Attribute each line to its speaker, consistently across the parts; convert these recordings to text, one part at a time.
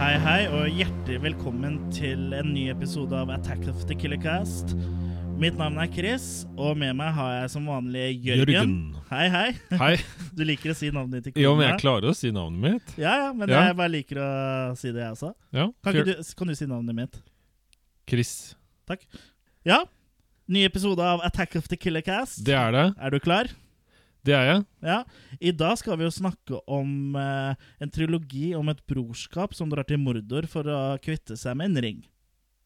Speaker 1: og hjertelig velkommen til en ny episode av Attack of the Killer Cast. Mitt navn er Chris, og med meg har jeg som vanlig Jørgen.
Speaker 2: Jørgen.
Speaker 1: Hei, hei.
Speaker 2: Hei.
Speaker 1: Du liker å si navnet ditt i
Speaker 2: Jo, men jeg klarer å si navnet mitt.
Speaker 1: Ja, ja, men
Speaker 2: Ja.
Speaker 1: jeg bare liker å si det, jeg også.
Speaker 2: Ja.
Speaker 1: Kan, ikke du, kan du si navnet mitt?
Speaker 2: Chris.
Speaker 1: Ja. Ny episode av Attack of the Killer Cast.
Speaker 2: Det er det.
Speaker 1: Er du klar?
Speaker 2: Det er jeg.
Speaker 1: Ja. I dag skal vi jo snakke om eh, en trilogi om et brorskap som drar til Mordor for å kvitte seg med en ring.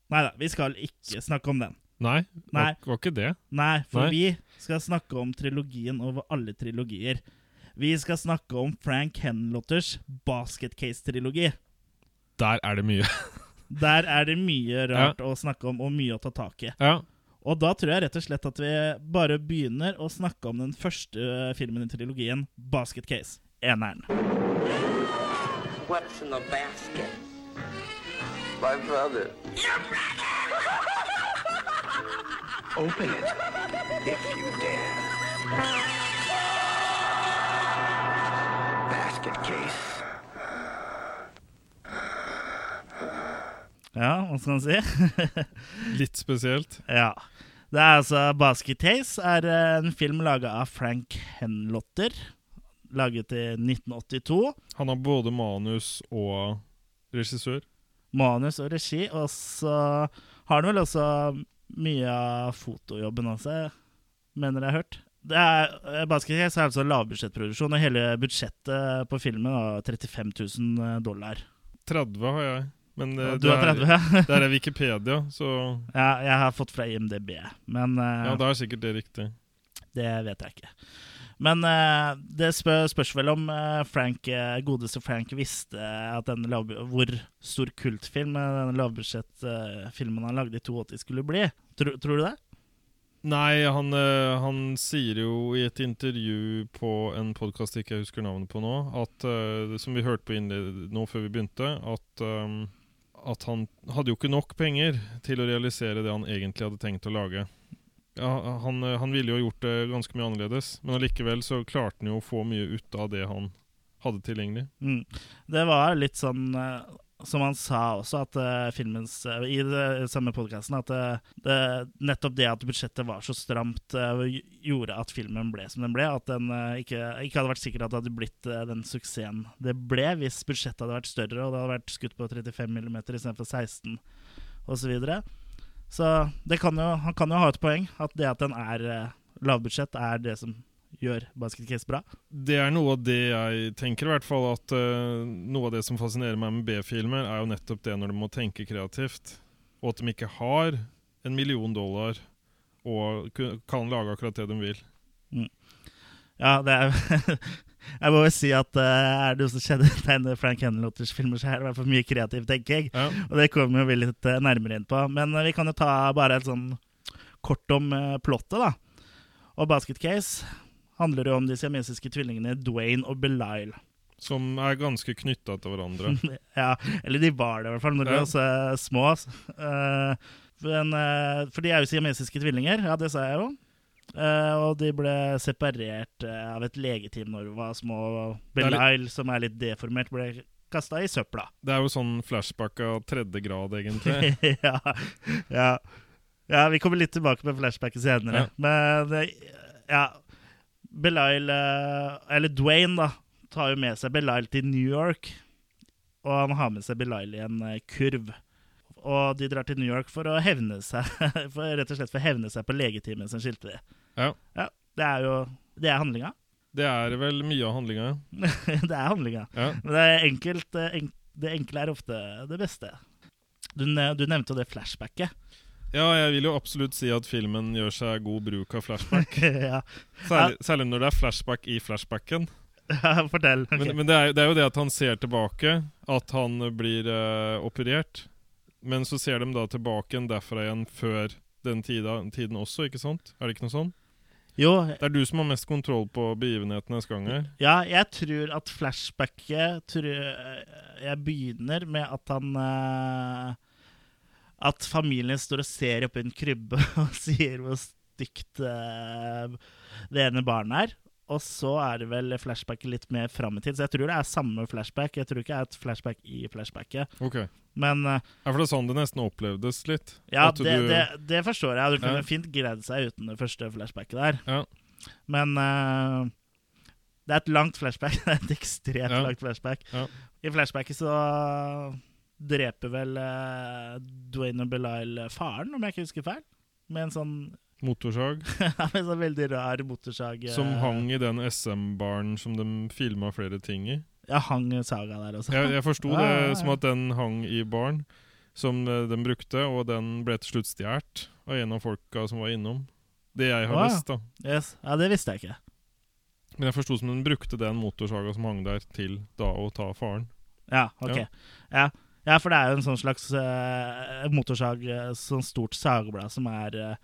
Speaker 1: Nei da, vi skal ikke snakke om den.
Speaker 2: Nei,
Speaker 1: Nei.
Speaker 2: Var, var ikke det.
Speaker 1: Nei, for
Speaker 2: Nei.
Speaker 1: vi skal snakke om trilogien over alle trilogier. Vi skal snakke om Frank Henlotters Basket Case-trilogi.
Speaker 2: Der er det mye.
Speaker 1: Der er det mye rart å snakke om og mye å ta tak i.
Speaker 2: Ja.
Speaker 1: Og da tror jeg rett og slett at vi bare begynner å snakke om den første eh, filmen i trilogien, Basket Case. Eneren.
Speaker 3: What's in the basket?
Speaker 4: My brother.
Speaker 3: Open it, if you dare. Basket case.
Speaker 1: Ja, hva skal man si?
Speaker 2: Litt spesielt.
Speaker 1: ja. Det er altså Basket Case er eh, en film laga av Frank Henlotter. Laget i 1982.
Speaker 2: Han har både manus og regissør.
Speaker 1: Manus og regi. Og så har han vel også mye av fotojobben også, mener jeg har hørt. Det er, eh, Basket Case er altså lavbudsjettproduksjon, og hele budsjettet på filmen var 35 000 dollar.
Speaker 2: 30 har jeg. Men eh, det,
Speaker 1: Og du har 30?
Speaker 2: det,
Speaker 1: ja?
Speaker 2: er, det er Wikipedia, så
Speaker 1: ja, jeg har fått fra IMDb, men eh,
Speaker 2: ja, da er sikkert det riktig.
Speaker 1: Det vet jeg ikke. Men eh, det spør, spørs vel om eh, Frank, eh, godeste Frank visste at den lav, hvor stor kultfilm eh, den lavbudsjettfilmen han lagde i 82 skulle bli. Tror, tror du det?
Speaker 2: Nei, han, eh, han sier jo i et intervju på en podkast jeg ikke husker navnet på nå, at, eh, som vi hørte på innled- nå før vi begynte, at, eh, at han hadde jo ikke nok penger til å realisere det han egentlig hadde tenkt å lage. Ja, han, eh, han ville jo gjort det ganske mye annerledes, men allikevel så klarte han jo å få mye ut av det han hadde tilgjengelig.
Speaker 1: Mm. Det var litt sånn eh, som han sa også, at eh, filmens eh, I det samme podkasten, at eh, det, nettopp det at budsjettet var så stramt, eh, gj- gjorde at filmen ble som den ble. At den eh, ikke, ikke hadde vært sikkert at det hadde blitt eh, den suksessen det ble, hvis budsjettet hadde vært større og det hadde vært skutt på 35 mm istedenfor 16 osv. Så, videre. så det kan jo, han kan jo ha et poeng, at det at den er eh, lavbudsjett, er det som gjør Basket Case bra.
Speaker 2: Det er noe av det jeg tenker, i hvert fall. At eh, noe av det som fascinerer meg med B-filmer, er jo nettopp det når de må tenke kreativt. Og at de ikke har en million dollar og ku- kan lage akkurat det de vil.
Speaker 1: Ja, det er Jeg må vel si at eh, er det noe som kjennetegner Frank Henlotters filmer, så er det i hvert fall mye kreativ tenking.
Speaker 2: Ja.
Speaker 1: Og det kommer vi litt eh, nærmere inn på. Men eh, vi kan jo ta bare et sånn kort om eh, plottet, da. Og Basket Case handler jo om de siamesiske tvillingene Dwayne og Belial.
Speaker 2: Som er ganske knytta til hverandre.
Speaker 1: ja, eller de var det i hvert fall, når de
Speaker 2: Ja.
Speaker 1: var så små. Eh, men, eh, for de er jo siamesiske tvillinger, ja, det sa jeg jo. Eh, og de ble separert eh, av et legeteam når de var små.
Speaker 2: Det er litt-
Speaker 1: Belial, som er litt deformert, ble kasta i søpla.
Speaker 2: Det er jo sånn flashback av tredje grad, egentlig.
Speaker 1: ja, ja. ja, vi kommer litt tilbake med flashbacket senere.
Speaker 2: Ja.
Speaker 1: Men eh, ja Belial eh, Eller Dwayne, da, tar jo med seg Belial til New York. Og han har med seg Belial i en eh, kurv. Og de drar til New York for å hevne seg for, Rett og slett for å hevne seg på legetimen som skilte de.
Speaker 2: Ja.
Speaker 1: Det er jo Det er handlinga.
Speaker 2: Det er vel mye av handlinga.
Speaker 1: det er handlinga.
Speaker 2: Ja.
Speaker 1: Men det, er enkelt, eh, enk, det enkle er ofte det beste. Du, ne- du nevnte jo det flashbacket.
Speaker 2: ja, jeg vil jo absolutt si at filmen gjør seg god bruk av flashback.
Speaker 1: ja.
Speaker 2: Særlig, særlig når det er flashback i flashbacken.
Speaker 1: ja, fortell. Ok.
Speaker 2: Men, men det, er, jo- det er jo det at han ser tilbake, at han eh, blir eh, operert. Men så ser de da tilbake igjen derfra igjen før den tida, tiden også, ikke sant? Er det ikke noe sånn?
Speaker 1: jo,
Speaker 2: Det er du som har mest kontroll på begivenhetenes gang her.
Speaker 1: ja, jeg tror at flashbacket tror jeg, eh, jeg begynner med at han eh, At familien står og ser oppi en krybbe og sier hvor stygt eh, det ene barnet er. og så er det vel flashbacket litt mer fram i tid. Så jeg tror det er samme flashback. Jeg tror ikke det er et flashback i flashbacket.
Speaker 2: Ok. Ja,
Speaker 1: Men eh,
Speaker 2: for det er sånn det nesten opplevdes litt.
Speaker 1: ja,
Speaker 2: At
Speaker 1: det,
Speaker 2: du-
Speaker 1: det, det forstår jeg. Du kunne
Speaker 2: Ja.
Speaker 1: fint greid seg uten det første flashbacket der.
Speaker 2: Ja.
Speaker 1: Men eh, det er et langt flashback. Det er et ekstremt
Speaker 2: Ja.
Speaker 1: langt flashback.
Speaker 2: Ja.
Speaker 1: I flashbacket så dreper vel eh, Dwayne og Belial eh, faren, om jeg ikke husker feil. Med en sånn,
Speaker 2: Motorsag.
Speaker 1: med en sånn veldig rar motorsag. eh,
Speaker 2: Som hang i den SM-baren som de filma flere ting i.
Speaker 1: Ja, hang saga der også.
Speaker 2: Jeg, jeg forsto
Speaker 1: Ja, ja, ja.
Speaker 2: det som at den hang i baren som eh, de brukte, og den ble til slutt stjålet av en av folka som var innom. Det jeg har
Speaker 1: Å, ja.
Speaker 2: lest, da.
Speaker 1: Yes. Ja, det visste jeg ikke.
Speaker 2: Men jeg forsto som den brukte den motorsaga som hang der, til da å ta faren.
Speaker 1: Ja, ok. Ja,
Speaker 2: Ja.
Speaker 1: ja. for det er jo en sånn slags eh, motorsag, eh, sånn stort sagblad som er eh,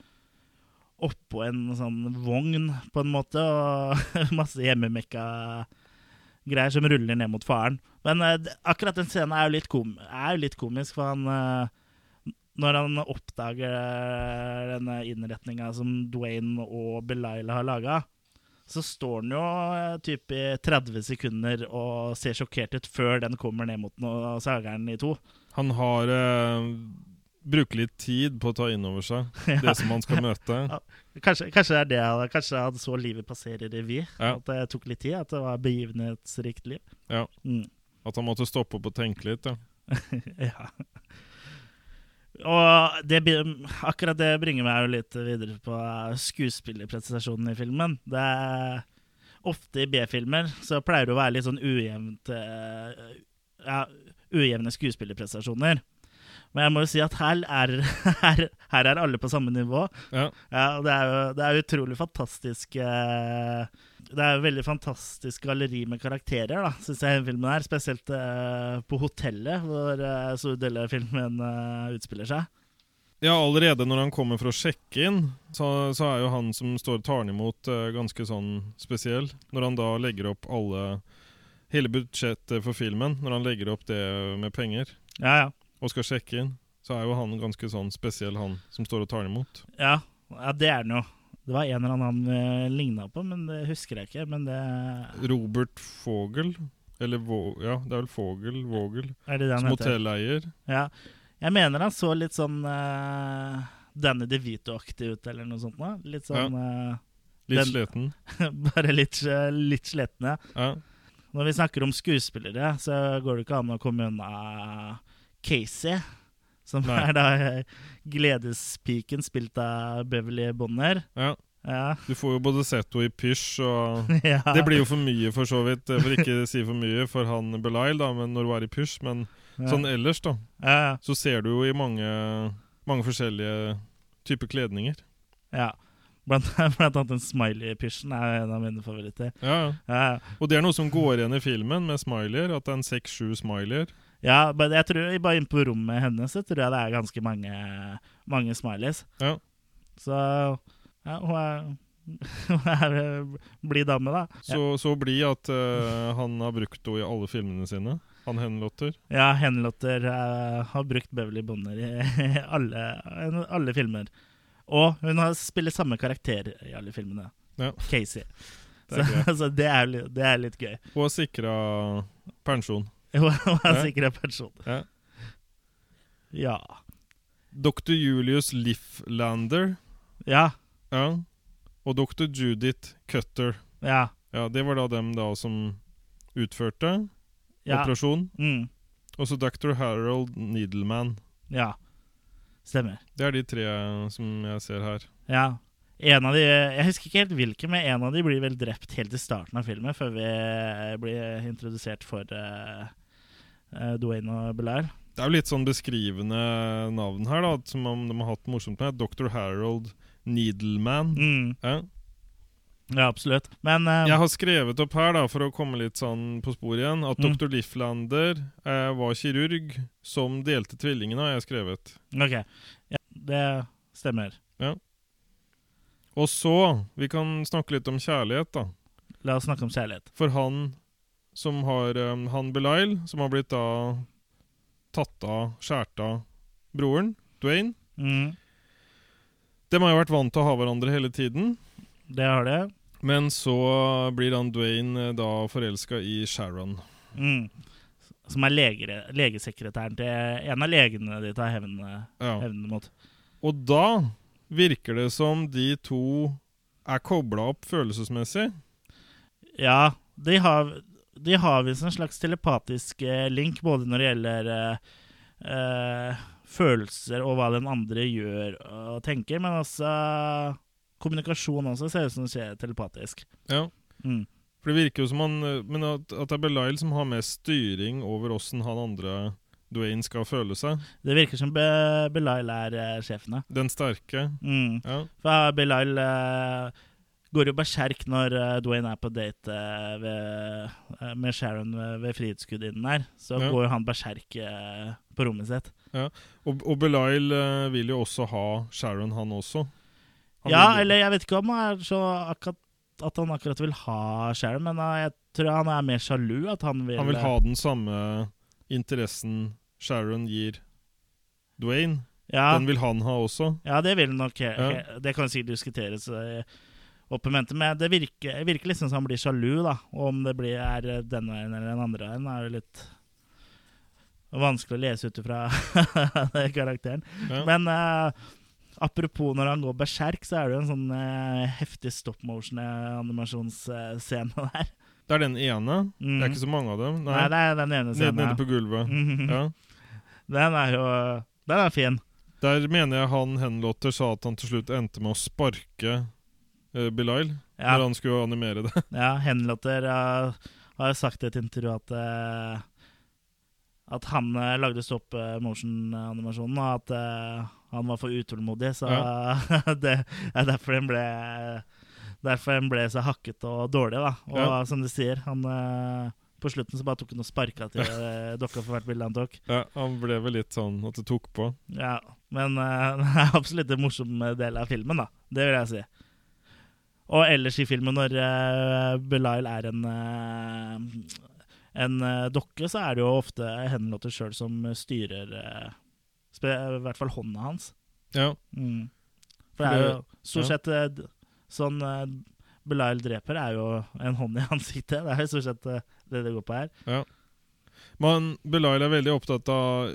Speaker 1: oppå en sånn vogn, på en måte, og masse hjemmemekka greier som ruller ned mot faren. Men eh, det- akkurat den scenen er jo litt, kom er jo litt komisk, for han eh, når han oppdager eh, denne innretninga som Dwayne og Belilah har laga, så står den jo eh, typ i 30 sekunder og ser sjokkert ut før den kommer ned mot den og sager den i to.
Speaker 2: Han har eh, Bruker litt tid på å ta inn over seg det som han skal møte.
Speaker 1: Kanskje, kanskje det er det han- Kanskje han så livet passere i revy.
Speaker 2: Ja.
Speaker 1: At det tok litt tid. At det var begivenhetsrikt liv.
Speaker 2: Ja.
Speaker 1: Mm.
Speaker 2: At han måtte stoppe opp og tenke litt. Ja.
Speaker 1: ja. Og det, blir- akkurat det bringer meg jo litt videre på skuespillerprestasjonen i filmen. Det er Ofte i B-filmer så pleier det å være litt sånn ujevnt eh, ja, Ujevne skuespillerprestasjoner. Men jeg må jo si at her er, her, her er alle på samme nivå.
Speaker 2: Ja.
Speaker 1: Ja, og det er jo det er jo utrolig fantastisk eh, Det er jo veldig fantastisk galleri med karakterer, da, syns jeg i denne filmen her. Spesielt eh, på hotellet, hvor uh, store deler av filmen eh, utspiller seg.
Speaker 2: Ja, allerede når han kommer for å sjekke inn, så, så er jo han som står og tar han imot, eh, ganske sånn spesiell. Når han da legger opp alle Hele budsjettet for filmen, når han legger opp det med penger
Speaker 1: Ja, ja.
Speaker 2: og skal sjekke inn, så er jo han ganske sånn spesiell, han som står og tar han imot.
Speaker 1: Ja, ja det er den jo. Det var en eller annen han uh, ligna på, men det husker jeg ikke. Men det
Speaker 2: Robert Fogel, eller Vå... Ja, det er vel Fogel, Vågel,
Speaker 1: er det det
Speaker 2: som
Speaker 1: han heter.
Speaker 2: hotelleier.
Speaker 1: Ja. Jeg mener han så litt sånn eh, Danny DeVito-aktig ut, eller noe sånt. Da. Litt sånn
Speaker 2: Litt
Speaker 1: Den-
Speaker 2: sliten.
Speaker 1: eh, Bare litt, eh, litt sliten, ja.
Speaker 2: Ja.
Speaker 1: Når vi snakker om skuespillere, så går det ikke an å komme unna Casey. Som
Speaker 2: Nei.
Speaker 1: er da eh, gledespiken spilt av Beverly Bonner.
Speaker 2: ja.
Speaker 1: Ja.
Speaker 2: Du får jo både Zetto i pysj og
Speaker 1: ja.
Speaker 2: Det blir jo for mye, for så vidt. For ikke å si for mye for han Belail, da, men når hun er i pysj. Men
Speaker 1: ja.
Speaker 2: sånn ellers, da,
Speaker 1: Ja, ja.
Speaker 2: så ser du jo i mange, mange forskjellige typer kledninger.
Speaker 1: ja. Blant, blant annet den smiley-pysjen er en av mine favoritter.
Speaker 2: Ja, ja.
Speaker 1: Ja, ja.
Speaker 2: Og det er noe som går igjen i filmen med smileyer, at det er en seks-sju smileyer.
Speaker 1: ja men jeg tror, bare inne på rommet hennes så tror jeg det er ganske mange, mange smileys.
Speaker 2: Ja.
Speaker 1: Så ja, hun er, hun er eh, blid dame, da.
Speaker 2: Så, så blid at eh, han har brukt henne i alle filmene sine. Han Henlotter.
Speaker 1: Ja, Henlotter eh, har brukt Beverly Bonner i alle, alle filmer. Og hun har spiller samme karakter i alle filmene.
Speaker 2: Ja.
Speaker 1: Casey.
Speaker 2: Det er
Speaker 1: så så det, er, li- det er litt gøy.
Speaker 2: Hun har sikra pensjon.
Speaker 1: Hun er
Speaker 2: Ja.
Speaker 1: sikkert en person.
Speaker 2: Ja.
Speaker 1: Ja.
Speaker 2: Dr. Julius Lifflander
Speaker 1: Ja.
Speaker 2: ja. og dr. Judith Cutter.
Speaker 1: Ja.
Speaker 2: Ja, Det var da dem da som utførte
Speaker 1: Ja.
Speaker 2: operasjon.
Speaker 1: Mm,
Speaker 2: Og så Dr. Harold Needleman.
Speaker 1: ja. Stemmer.
Speaker 2: Det er de tre som jeg ser her.
Speaker 1: Ja. En av de, jeg husker ikke helt hvilke, men en av de blir vel drept helt i starten av filmen, før vi blir introdusert for eh, eh, Dwayne og Belair.
Speaker 2: Det er jo litt sånn beskrivende navn her, da, som om de har hatt morsomt med. Dr. Harold Needleman.
Speaker 1: Mm.
Speaker 2: Ja.
Speaker 1: Ja, absolutt. Men eh,
Speaker 2: Jeg har skrevet opp her, da, for å komme litt sånn på sporet igjen, at
Speaker 1: Mm.
Speaker 2: dr. Lifflander eh, var kirurg som delte tvillingene, har jeg skrevet.
Speaker 1: OK. Ja, det stemmer.
Speaker 2: Og så Vi kan snakke litt om kjærlighet, da.
Speaker 1: La oss snakke om kjærlighet.
Speaker 2: For han som har eh, Han Belail, som har blitt da tatt av, skjært av broren, Dwayne
Speaker 1: Mm,
Speaker 2: De har jo vært vant til å ha hverandre hele tiden.
Speaker 1: det har det.
Speaker 2: Men så blir han Dwayne eh, da forelska i Sharon.
Speaker 1: Mm. Som er legere, legesekretæren til en av legene de tar hevn eh,
Speaker 2: Ja.
Speaker 1: hevn mot.
Speaker 2: Og da virker det som de to er kobla opp følelsesmessig.
Speaker 1: Ja, de har, de har visst en slags telepatisk eh, link både når det gjelder eh, eh, følelser og hva den andre gjør og tenker, men også kommunikasjon også ser ut som det skjer telepatisk.
Speaker 2: Ja.
Speaker 1: Mm.
Speaker 2: For det virker jo som han eh, Men at, at det er Belial som har mest styring over åssen han andre Dwayne skal føle seg.
Speaker 1: Det virker som Be Belial er eh, sjefene.
Speaker 2: Den sterke.
Speaker 1: Mm.
Speaker 2: Ja.
Speaker 1: For Belial eh, går jo berserk når eh, Dwayne er på date eh, ved, eh, med Sharon ved, ved Frihetsgudinnen her. Så
Speaker 2: Ja.
Speaker 1: går jo han berserk eh, på rommet sitt.
Speaker 2: Og, og Belial eh, vil jo også ha Sharon, han også. Han
Speaker 1: ja,
Speaker 2: vil jo-
Speaker 1: eller jeg vet ikke om han er så akkurat, at han akkurat vil ha Sharon, men eh, jeg tror han er mer sjalu. At han vil, eh,
Speaker 2: Han vil ha den samme interessen Sharon gir Dwayne.
Speaker 1: ja,
Speaker 2: Den vil han ha også.
Speaker 1: ja, det vil nok he
Speaker 2: Ja.
Speaker 1: he- Det kan sikkert diskuteres eh, opp i mente, men det virker, virker liksom som han blir sjalu, da. Og om det blir, er eh, den veien eller den andre veien, er jo litt vanskelig å lese ut ifra den karakteren.
Speaker 2: Ja.
Speaker 1: Men eh, apropos når han går berserk, så er det jo en sånn eh, heftig stop motion-animasjonsscene der.
Speaker 2: Det er den ene. Det
Speaker 1: Mhm.
Speaker 2: er ikke så mange av dem.
Speaker 1: Nei,
Speaker 2: Nei,
Speaker 1: det er den ene
Speaker 2: nede,
Speaker 1: scenen.
Speaker 2: nede
Speaker 1: ja.
Speaker 2: på gulvet.
Speaker 1: Mhm.
Speaker 2: Ja.
Speaker 1: Den er jo Den er fin.
Speaker 2: Der mener jeg han henlotter sa at han til slutt endte med å sparke uh, Belial
Speaker 1: Ja,
Speaker 2: når han skulle animere det.
Speaker 1: ja Henlotter eh, har jo sagt i et intervju at eh, At han eh, lagde stop eh, motion-animasjonen, og at eh, han var for utålmodig, så det er derfor den ble Derfor den ble så hakket og dårlig, da. Og
Speaker 2: Ja.
Speaker 1: som du sier, han eh, På slutten så bare tok han og sparka til eh, dokka for hvert bilde han tok.
Speaker 2: Ja, han ble vel litt sånn at det tok på.
Speaker 1: Ja, men eh, det er absolutt en morsom eh, del av filmen, da. Det vil jeg si. Og ellers i filmen, når uh, Belial er en eh, en eh, dokke, så er det jo ofte Henlotter sjøl som styrer eh, spe, I hvert fall hånda hans.
Speaker 2: Ja,
Speaker 1: Mm. For det er jo stort
Speaker 2: Ja.
Speaker 1: sett eh, d- sånn uh, Belial dreper, er jo en hånd i ansiktet. Det er jo stort sett eh, det det går på her.
Speaker 2: Men Belial er veldig opptatt av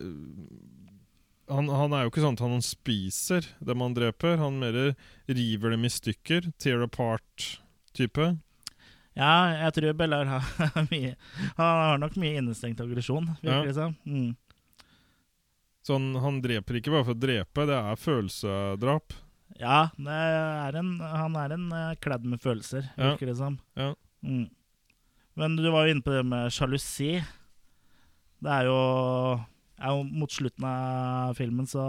Speaker 2: han, han er jo ikke sånn at han spiser dem han dreper. Han mer river dem i stykker. Tear apart-type.
Speaker 1: Ja, jeg tror Bellar har mye Han har nok mye innestengt aggresjon, virker det som. Mm.
Speaker 2: Så han, Sånn, han dreper ikke bare for å drepe, det er følelsedrap.
Speaker 1: Ja, det er en, han er en eh, kladd med følelser,
Speaker 2: Ja.
Speaker 1: virker det som.
Speaker 2: Ja.
Speaker 1: Mm. Men du var jo inne på det med sjalusi. Det er jo, er jo Mot slutten av filmen så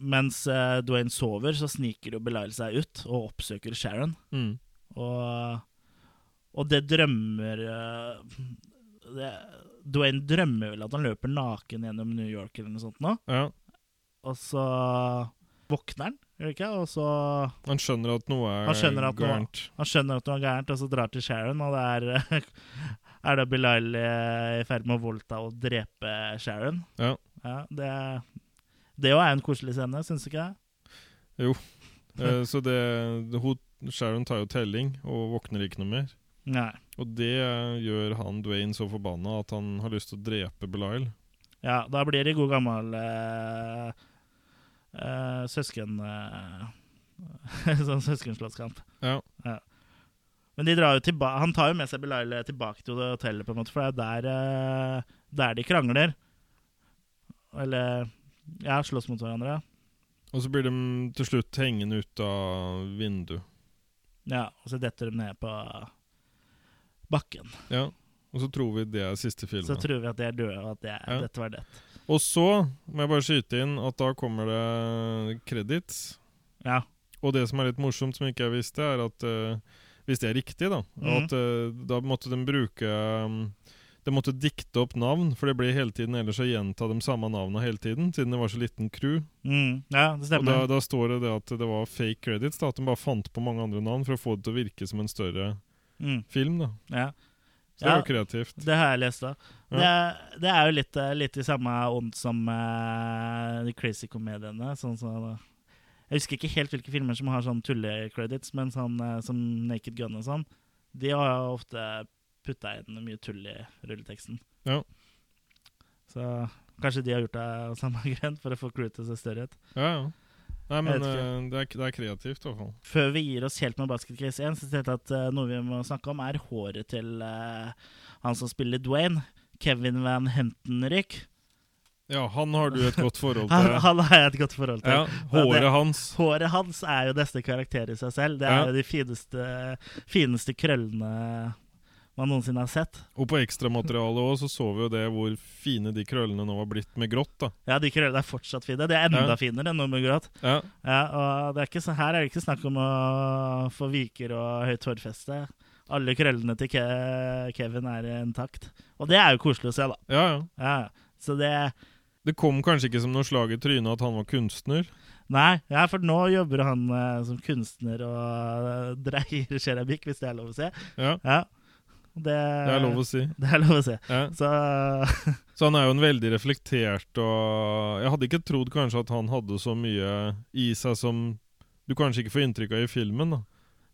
Speaker 1: Mens eh, Dwayne sover, så sniker jo Belial seg ut og oppsøker Sharon.
Speaker 2: Mm.
Speaker 1: Og, og det drømmer eh, det, Dwayne drømmer vel at han løper naken gjennom New York eller noe sånt nå.
Speaker 2: Ja.
Speaker 1: Og så våkner han, gjør det ikke? Og så
Speaker 2: Han skjønner at noe er
Speaker 1: Han skjønner at noe-
Speaker 2: gærent.
Speaker 1: Han skjønner at noe er gærent, og så drar til Sharon, og det er Er da Bilal eh, i ferd med å voldta og drepe Sharon?
Speaker 2: Ja.
Speaker 1: ja det det òg er en koselig scene, syns du ikke det?
Speaker 2: Eh, så det, det hun, Sharon tar jo telling og våkner ikke noe mer.
Speaker 1: Nei.
Speaker 2: Og det eh, gjør han Dwayne så forbanna at han har lyst til å drepe Belial.
Speaker 1: Ja, da blir det god gammel eh, eh, søsken... Eh, sånn søskenslåsskamp.
Speaker 2: Ja.
Speaker 1: Men de drar jo tilba han tar jo med seg Bilal tilbake til hotellet, på en måte, for det er der, eh, der de krangler. Eller ja, slåss mot hverandre.
Speaker 2: Og så blir de til slutt hengende ut av vinduet.
Speaker 1: Ja, Og så detter de ned på bakken.
Speaker 2: Ja. Og så tror vi det er siste filmen.
Speaker 1: Så tror vi at de er døde, og at det,
Speaker 2: Ja.
Speaker 1: dette var det.
Speaker 2: Og så må jeg bare skyte inn at da kommer det credits.
Speaker 1: Ja.
Speaker 2: Og det som er litt morsomt, som ikke jeg visste, er at eh, Hvis det er riktig, da.
Speaker 1: Mhm.
Speaker 2: At eh, da måtte de bruke um, De måtte dikte opp navn, for det ble hele tiden ellers å gjenta de samme navnene hele tiden, siden det var så liten crew.
Speaker 1: Mm, ja, det
Speaker 2: Og da,
Speaker 1: stemmer.
Speaker 2: da står det det at det var fake credits, da, at de bare fant på mange andre navn for å få det til å virke som en større
Speaker 1: Mm,
Speaker 2: film. da.
Speaker 1: ja.
Speaker 2: Så det
Speaker 1: Ja.
Speaker 2: var kreativt.
Speaker 1: Det har jeg lest da.
Speaker 2: Ja.
Speaker 1: Det, er- det er jo litt, eh, litt i samme ånd som eh, de crazy komediene. Sånn som Jeg husker ikke helt hvilke filmer som har sånn tullecredits, men sånn eh, som Naked Gun og sånn, de har jo ofte putta inn mye tull i rulleteksten.
Speaker 2: Ja.
Speaker 1: Så kanskje de har gjort det av samme grunn, for å få crewet til å se større ut.
Speaker 2: Ja, ja. Nei,
Speaker 1: Jeg
Speaker 2: men
Speaker 1: vet ikke.
Speaker 2: eh, det er, det er kreativt, i hvert fall.
Speaker 1: Før vi gir oss helt med Basket Case 1, så tenkte jeg at eh, noe vi må snakke om, er håret til eh, han som spiller Dwayne. Kevin Van Hentenryk.
Speaker 2: Ja, han har du et godt forhold
Speaker 1: Han,
Speaker 2: til.
Speaker 1: han har jeg et godt forhold til.
Speaker 2: Ja, håret hans.
Speaker 1: Håret hans er jo neste karakter i seg selv. Det er
Speaker 2: Ja.
Speaker 1: jo de fineste, fineste krøllene man noensinne har sett.
Speaker 2: Og på ekstramaterialet òg så så vi jo det hvor fine de krøllene nå var blitt med grått. da
Speaker 1: Ja, de krøllene er fortsatt fine. Det er enda
Speaker 2: Ja.
Speaker 1: finere enn noe med grått.
Speaker 2: Ja,
Speaker 1: Ja, og det er ikke så, her er det ikke snakk om å få viker og høyt hårfeste. Alle krøllene til Ke Kevin er intakt. Og det er jo koselig å se, da.
Speaker 2: ja, ja.
Speaker 1: Ja, så det
Speaker 2: Det kom kanskje ikke som noe slag i trynet at han var kunstner.
Speaker 1: Nei, ja, for nå jobber han eh, som kunstner og eh, dreier keramikk, hvis det er lov å se.
Speaker 2: Ja,
Speaker 1: Ja. Det,
Speaker 2: Det er lov å si.
Speaker 1: Det er lov å se.
Speaker 2: Ja.
Speaker 1: Så
Speaker 2: Så han er jo en veldig reflektert og Jeg hadde ikke trodd kanskje at han hadde så mye i seg som du kanskje ikke får inntrykk av i filmen. da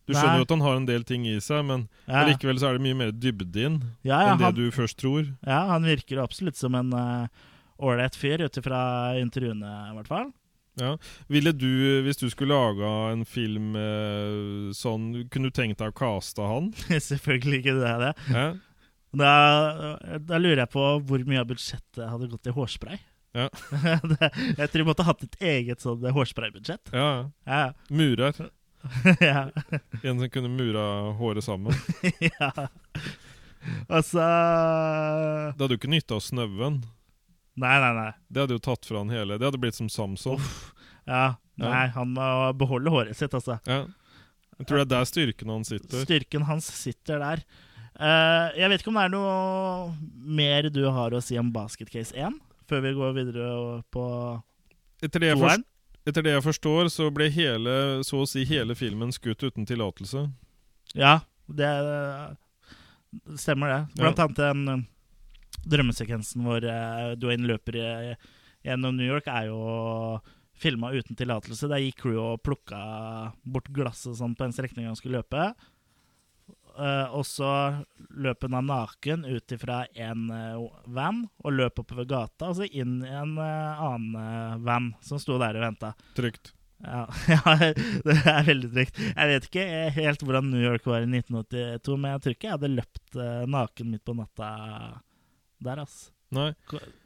Speaker 2: Du
Speaker 1: Nei.
Speaker 2: skjønner jo at han har en del ting i seg, men
Speaker 1: ja, ja,
Speaker 2: likevel så er det mye mer dybde inn
Speaker 1: ja,
Speaker 2: enn det
Speaker 1: han,
Speaker 2: du først tror.
Speaker 1: ja, han virker absolutt som en eh, ålreit fyr, ut ifra intervjuene, i hvert fall.
Speaker 2: Ville du, hvis du skulle laga en film eh, sånn, kunne du tenkt deg å caste han?
Speaker 1: Selvfølgelig ikke det. det.
Speaker 2: Ja,
Speaker 1: Da, da lurer jeg på hvor mye av budsjettet hadde gått til hårspray.
Speaker 2: Ja.
Speaker 1: det, jeg tror vi måtte hatt et eget sånn hårspraybudsjett.
Speaker 2: ja.
Speaker 1: Ja,
Speaker 2: Murer.
Speaker 1: ja.
Speaker 2: En som kunne mura håret sammen.
Speaker 1: ja. Og så
Speaker 2: Det hadde jo ikke nytta av snauen.
Speaker 1: Nei, nei, nei.
Speaker 2: Det hadde jo tatt fra han hele. Det hadde blitt som Samson.
Speaker 1: Ja, nei han må beholde håret sitt, altså.
Speaker 2: Ja. Jeg tror det er der styrken hans sitter.
Speaker 1: Styrken hans sitter der. Eh, jeg vet ikke om det er noe mer du har å si om Basket Case 1, før vi går videre og- på
Speaker 2: Etter det, jeg
Speaker 1: toeren?
Speaker 2: forst- etter det jeg forstår, så ble hele, så å si hele filmen skutt uten tillatelse.
Speaker 1: Ja, det eh, stemmer det. Blant annet den eh, drømmesekvensen hvor eh, Dwayne løper i, gjennom New York, er jo filma uten tillatelse. Der gikk crew og plukka bort glasset og sånn på en strekning han skulle løpe. Eh, og så løp han naken ut ifra en eh, van og løp oppover gata, og så inn i en eh, annen eh, van som sto der og venta.
Speaker 2: Trygt.
Speaker 1: Ja, ja, det er veldig trygt. Jeg vet ikke helt hvordan New York var i 1982, men jeg tror ikke jeg hadde løpt eh, naken midt på natta der, ass.
Speaker 2: Nei.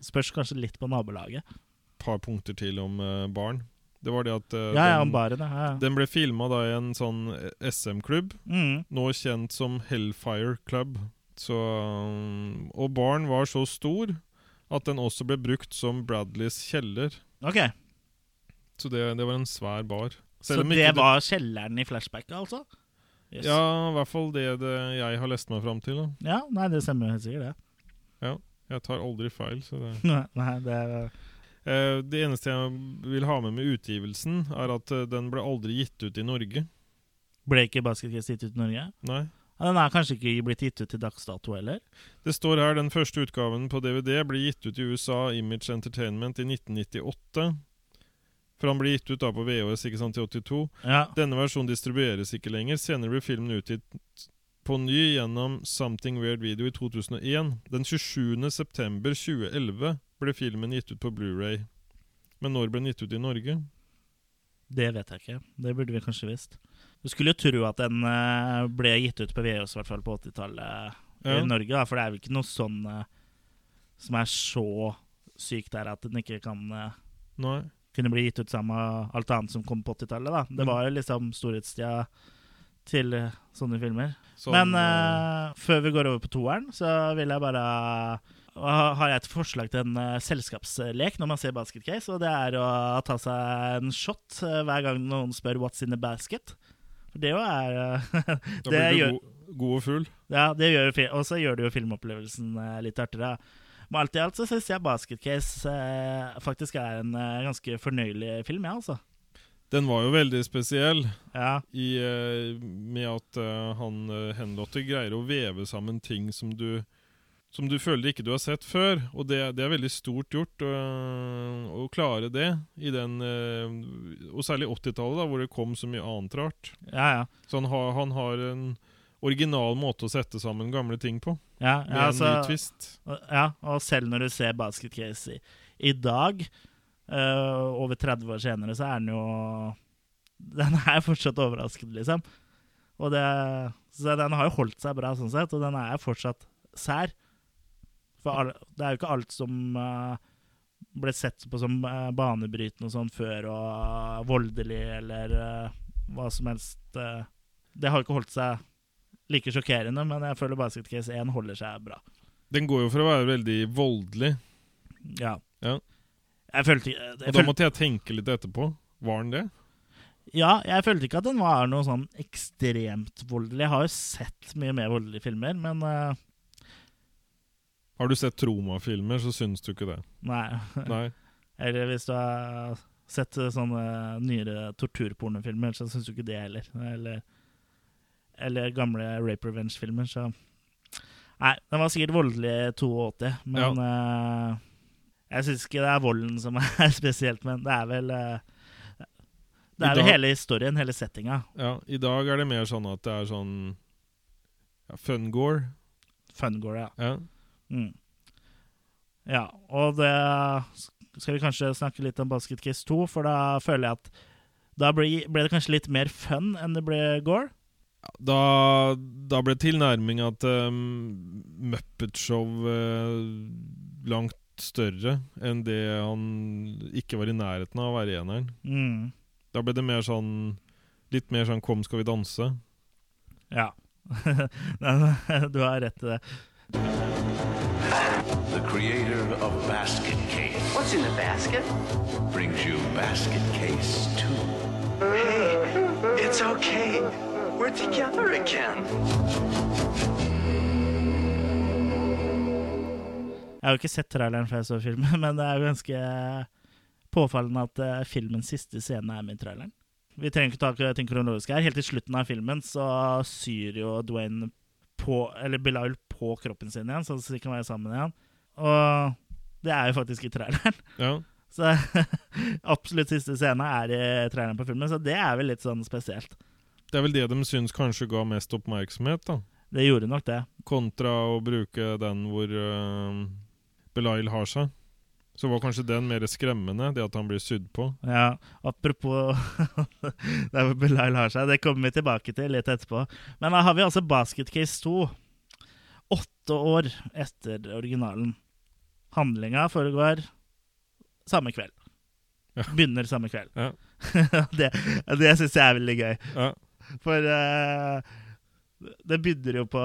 Speaker 1: Spørs kanskje litt på nabolaget.
Speaker 2: Et par punkter til om eh, barn. Det var det at eh,
Speaker 1: Ja, ja, om
Speaker 2: den,
Speaker 1: baren, ja. ja.
Speaker 2: den ble filma i en sånn SM-klubb.
Speaker 1: Mm.
Speaker 2: nå kjent som Hellfire Club. Så, um, og baren var så stor at den også ble brukt som Bradleys kjeller.
Speaker 1: Ok,
Speaker 2: Så det, det var en svær bar.
Speaker 1: så
Speaker 2: Selv om
Speaker 1: det
Speaker 2: ikke det-
Speaker 1: var kjelleren i flashbacket, altså? Yes.
Speaker 2: Ja, i hvert fall det, det jeg har lest meg fram til. Da.
Speaker 1: ja? Nei, det stemmer jo helt sikkert, det.
Speaker 2: Jeg tar aldri feil. Så det.
Speaker 1: Nei, det er-
Speaker 2: Eh, det eneste jeg vil ha med med utgivelsen, er at eh, den ble aldri gitt ut i Norge.
Speaker 1: Ble ikke Basketcast gitt ut i Norge?
Speaker 2: Nei.
Speaker 1: Ja, Den er kanskje ikke blitt gitt ut til dags dato heller?
Speaker 2: Det står her den første utgaven på DVD ble gitt ut i USA Image Entertainment i 1998. For han ble gitt ut da på VHS ikke sant, i 82.
Speaker 1: Ja.
Speaker 2: Denne versjonen distribueres ikke lenger. Senere ble filmen utgitt på ny gjennom Something Weird Video i 2001. Den 27. september 2011 ble filmen gitt ut på Blu-ray. Men når ble den gitt ut i Norge?
Speaker 1: Det vet jeg ikke. Det burde vi kanskje visst. Du skulle jo tro at den eh, ble gitt ut på VHS, i hvert fall på 80-tallet i
Speaker 2: Ja.
Speaker 1: Norge, da, for det er vel ikke noe sånn eh, som er så sykt der at den ikke kan eh,
Speaker 2: Nei.
Speaker 1: kunne bli gitt ut sammen med alt annet som kom på 80-tallet. da. Det var jo liksom storhetstida til eh, sånne filmer.
Speaker 2: Sånn,
Speaker 1: Men eh, før vi går over på toeren, så vil jeg bare eh, ha- har jeg et forslag til en eh, selskapslek når man ser basket case, og det er å ta seg en shot eh, hver gang noen spør 'what's in the basket'. For det jo er eh,
Speaker 2: eh, da
Speaker 1: det
Speaker 2: blir du
Speaker 1: gjør-
Speaker 2: god, god og full.
Speaker 1: Ja, det gjør jo fi- Og så gjør det jo filmopplevelsen eh, litt artigere. Men alt i alt så syns jeg basket case eh, faktisk er en eh, ganske fornøyelig film, jeg, altså.
Speaker 2: Den var jo veldig spesiell
Speaker 1: Ja.
Speaker 2: i, eh, med at eh, han uh, Henlotter greier å veve sammen ting som du som du føler ikke du har sett før. Og det, det er veldig stort gjort øh, å klare det, i den, øh, og særlig 80-tallet, da, hvor det kom så mye annet rart.
Speaker 1: Ja, ja.
Speaker 2: Så han har, han har en original måte å sette sammen gamle ting på,
Speaker 1: ja,
Speaker 2: med
Speaker 1: ja, altså,
Speaker 2: en ny twist.
Speaker 1: ja og selv når du ser Basket Case i, i dag, eh, over 30 år senere, så er den jo Den er fortsatt overraskende, liksom. Og det, så den har jo holdt seg bra, sånn sett, og den er fortsatt sær. For all, det er jo ikke alt som eh, ble sett på som eh, banebrytende og sånn før, og voldelig eller eh, hva som helst. eh. det har jo ikke holdt seg like sjokkerende, men jeg føler Basket Case 1 holder seg bra.
Speaker 2: Den går jo for å være veldig voldelig,
Speaker 1: Ja.
Speaker 2: Ja.
Speaker 1: Jeg følte, ikke- jeg
Speaker 2: og da
Speaker 1: følte,
Speaker 2: måtte jeg tenke litt etterpå. Var den det?
Speaker 1: ja, jeg følte ikke at den var noe sånn ekstremt voldelig. Jeg har jo sett mye mer voldelige filmer, men eh,
Speaker 2: Har du sett Troma-filmer, så syns du ikke det.
Speaker 1: nei.
Speaker 2: Nei.
Speaker 1: Eller hvis du har sett eh, sånne nyere torturpornofilmer, så syns du ikke det heller. Eller, eller gamle rape revenge-filmer, så Nei, den var sikkert voldelig 82, men eh, jeg syns ikke det er volden som er spesielt, men det er vel eh, Det er
Speaker 2: I
Speaker 1: vel
Speaker 2: dag-
Speaker 1: hele historien, hele settinga.
Speaker 2: Ja, I dag er det mer sånn at det er sånn ja, fungore.
Speaker 1: Fungore, ja.
Speaker 2: Ja.
Speaker 1: Mm. Ja, og det skal vi kanskje snakke litt om Basket Case 2, for da føler jeg at da ble, ble det kanskje litt mer fun enn det ble Gore.
Speaker 2: Da, da ble tilnærminga til um, Muppet-show eh, langt større enn det han ikke var i nærheten av å være i eneren.
Speaker 1: Mm.
Speaker 2: Da ble det mer sånn Litt mer sånn 'Kom, skal vi danse'.
Speaker 1: Ja. Men du har rett i det.
Speaker 5: The creator of Basket Case
Speaker 4: What's in the basket?
Speaker 5: brings you Basket Case 2.
Speaker 4: It's okay. We're together again.
Speaker 1: Jeg har jo ikke sett traileren før jeg så filmen, men det er jo ganske påfallende at eh, filmens siste scene er med i traileren. Vi trenger ikke ta ting kronologisk her. Helt til slutten av filmen så syr jo Dwayne på Eller Bilal på kroppen sin igjen, så de kan være sammen igjen. Og det er jo faktisk i traileren.
Speaker 2: Ja.
Speaker 1: Så absolutt siste scene er i traileren på filmen, så det er vel litt sånn spesielt.
Speaker 2: Det er vel det de syns kanskje ga mest oppmerksomhet, da.
Speaker 1: Det gjorde nok det.
Speaker 2: Kontra å bruke den hvor uh, Belail har seg. Så var kanskje den mer skremmende, det at han blir sydd på.
Speaker 1: Ja, apropos der hvor Belail har seg, det kommer vi tilbake til litt etterpå. Men da har vi altså Basket Case 2. Åtte år etter originalen. Handlinga foregår samme kveld.
Speaker 2: Ja.
Speaker 1: Begynner samme kveld.
Speaker 2: Ja.
Speaker 1: det det syns jeg er veldig gøy.
Speaker 2: Ja,
Speaker 1: For eh, det begynner jo på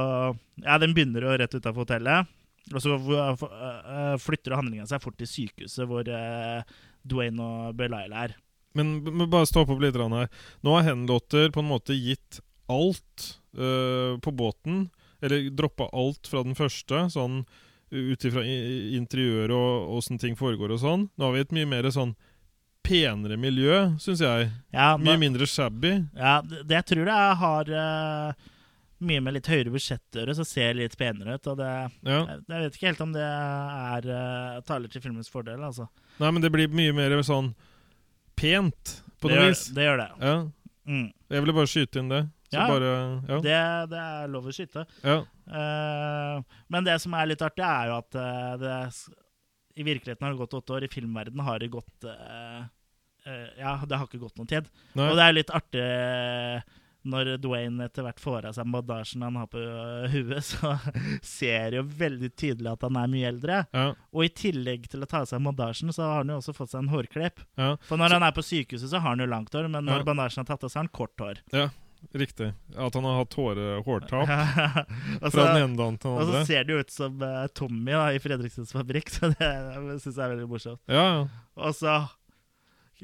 Speaker 1: Ja, den begynner jo rett utafor hotellet. Og så eh, f- eh, flytter handlinga seg fort til sykehuset, hvor eh, Dwayne og Belaila er.
Speaker 2: Men, men bare stopp opp litt grann her. Nå har Henlotter på en måte gitt alt øh, på båten. Eller droppa alt fra den første, sånn ut ifra i- i- interiøret og åssen ting foregår og sånn. Nå har vi et mye mer sånn penere miljø, syns jeg.
Speaker 1: Ja, nå-
Speaker 2: Mye mindre shabby.
Speaker 1: Ja, det det jeg tror det er, har eh, mye med litt høyere budsjett å gjøre, så ser det litt penere ut. Og det,
Speaker 2: Ja.
Speaker 1: jeg, jeg vet ikke helt om det er eh, taler til filmens fordel, altså.
Speaker 2: Nei, men det blir mye mer sånn pent, på
Speaker 1: det,
Speaker 2: noe
Speaker 1: gjør,
Speaker 2: vis.
Speaker 1: det gjør det.
Speaker 2: Ja.
Speaker 1: Mm.
Speaker 2: Jeg ville bare skyte inn det. Så
Speaker 1: Ja.
Speaker 2: bare ja.
Speaker 1: det. Det er lov å skyte.
Speaker 2: ja.
Speaker 1: Eh, men det som er litt artig, er jo at eh, det er s- I virkeligheten har det gått åtte år, i filmverdenen har det gått eh, eh, Ja, det har ikke gått noe tid.
Speaker 2: Nei.
Speaker 1: Og det er litt artig eh, når Dwayne etter hvert får av seg bandasjen han har på eh, huet, så ser jo veldig tydelig at han er mye eldre.
Speaker 2: ja.
Speaker 1: Og i tillegg til å ta av seg bandasjen, så har han jo også fått seg en hårklipp.
Speaker 2: ja.
Speaker 1: For når han er på sykehuset, så har han jo langt hår, men når
Speaker 2: Ja.
Speaker 1: bandasjen er tatt av, så har han kort hår.
Speaker 2: Riktig. At han har hatt håre, hårtap
Speaker 1: og, så,
Speaker 2: fra den ene dagen til
Speaker 1: og
Speaker 2: den
Speaker 1: så
Speaker 2: andre.
Speaker 1: ser det jo ut som eh, Tommy da, i Fredriksens fabrikk, så det syns jeg er veldig morsomt.
Speaker 2: Ja, ja.
Speaker 1: Og så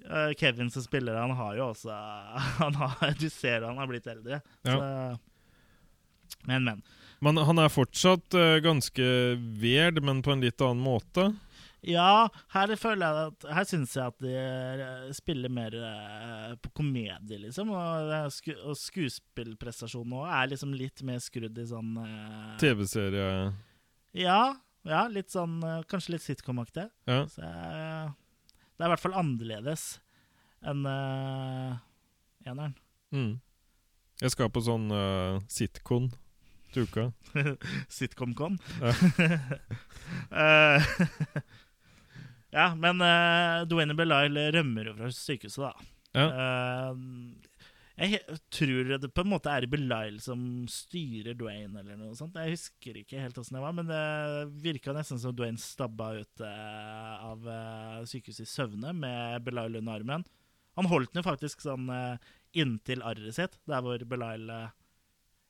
Speaker 1: eh, Kevin som spiller, han har jo også han har, Du ser han har blitt eldre. Så, men, men.
Speaker 2: Men han er fortsatt eh, ganske weird, men på en litt annen måte.
Speaker 1: Ja, her føler jeg at Her syns jeg at de eh, spiller mer eh, på komedie, liksom. Og, det er sku, og skuespillprestasjonen òg er liksom litt mer skrudd i sånn eh,
Speaker 2: TV-serie
Speaker 1: Ja, ja litt sånn eh, Kanskje litt sitcom-aktig.
Speaker 2: Ja.
Speaker 1: Så jeg, det er i hvert fall annerledes enn eh, eneren.
Speaker 2: Mm. Jeg skal på sånn uh, sitcon til uka.
Speaker 1: Sitcom-con.
Speaker 2: Ja.
Speaker 1: Eh, ja, men uh, Dwayne Belisle rømmer jo fra sykehuset, da.
Speaker 2: Ja.
Speaker 1: Eh, jeg he- tror det på en måte er Belisle som styrer Dwayne, eller noe sånt. Jeg husker ikke helt åssen det var, men det virka nesten som Dwayne stabba ut eh, av eh, sykehuset i søvne med Belisle under armen. Han holdt den jo faktisk sånn eh, inntil arret sitt, der hvor Belisle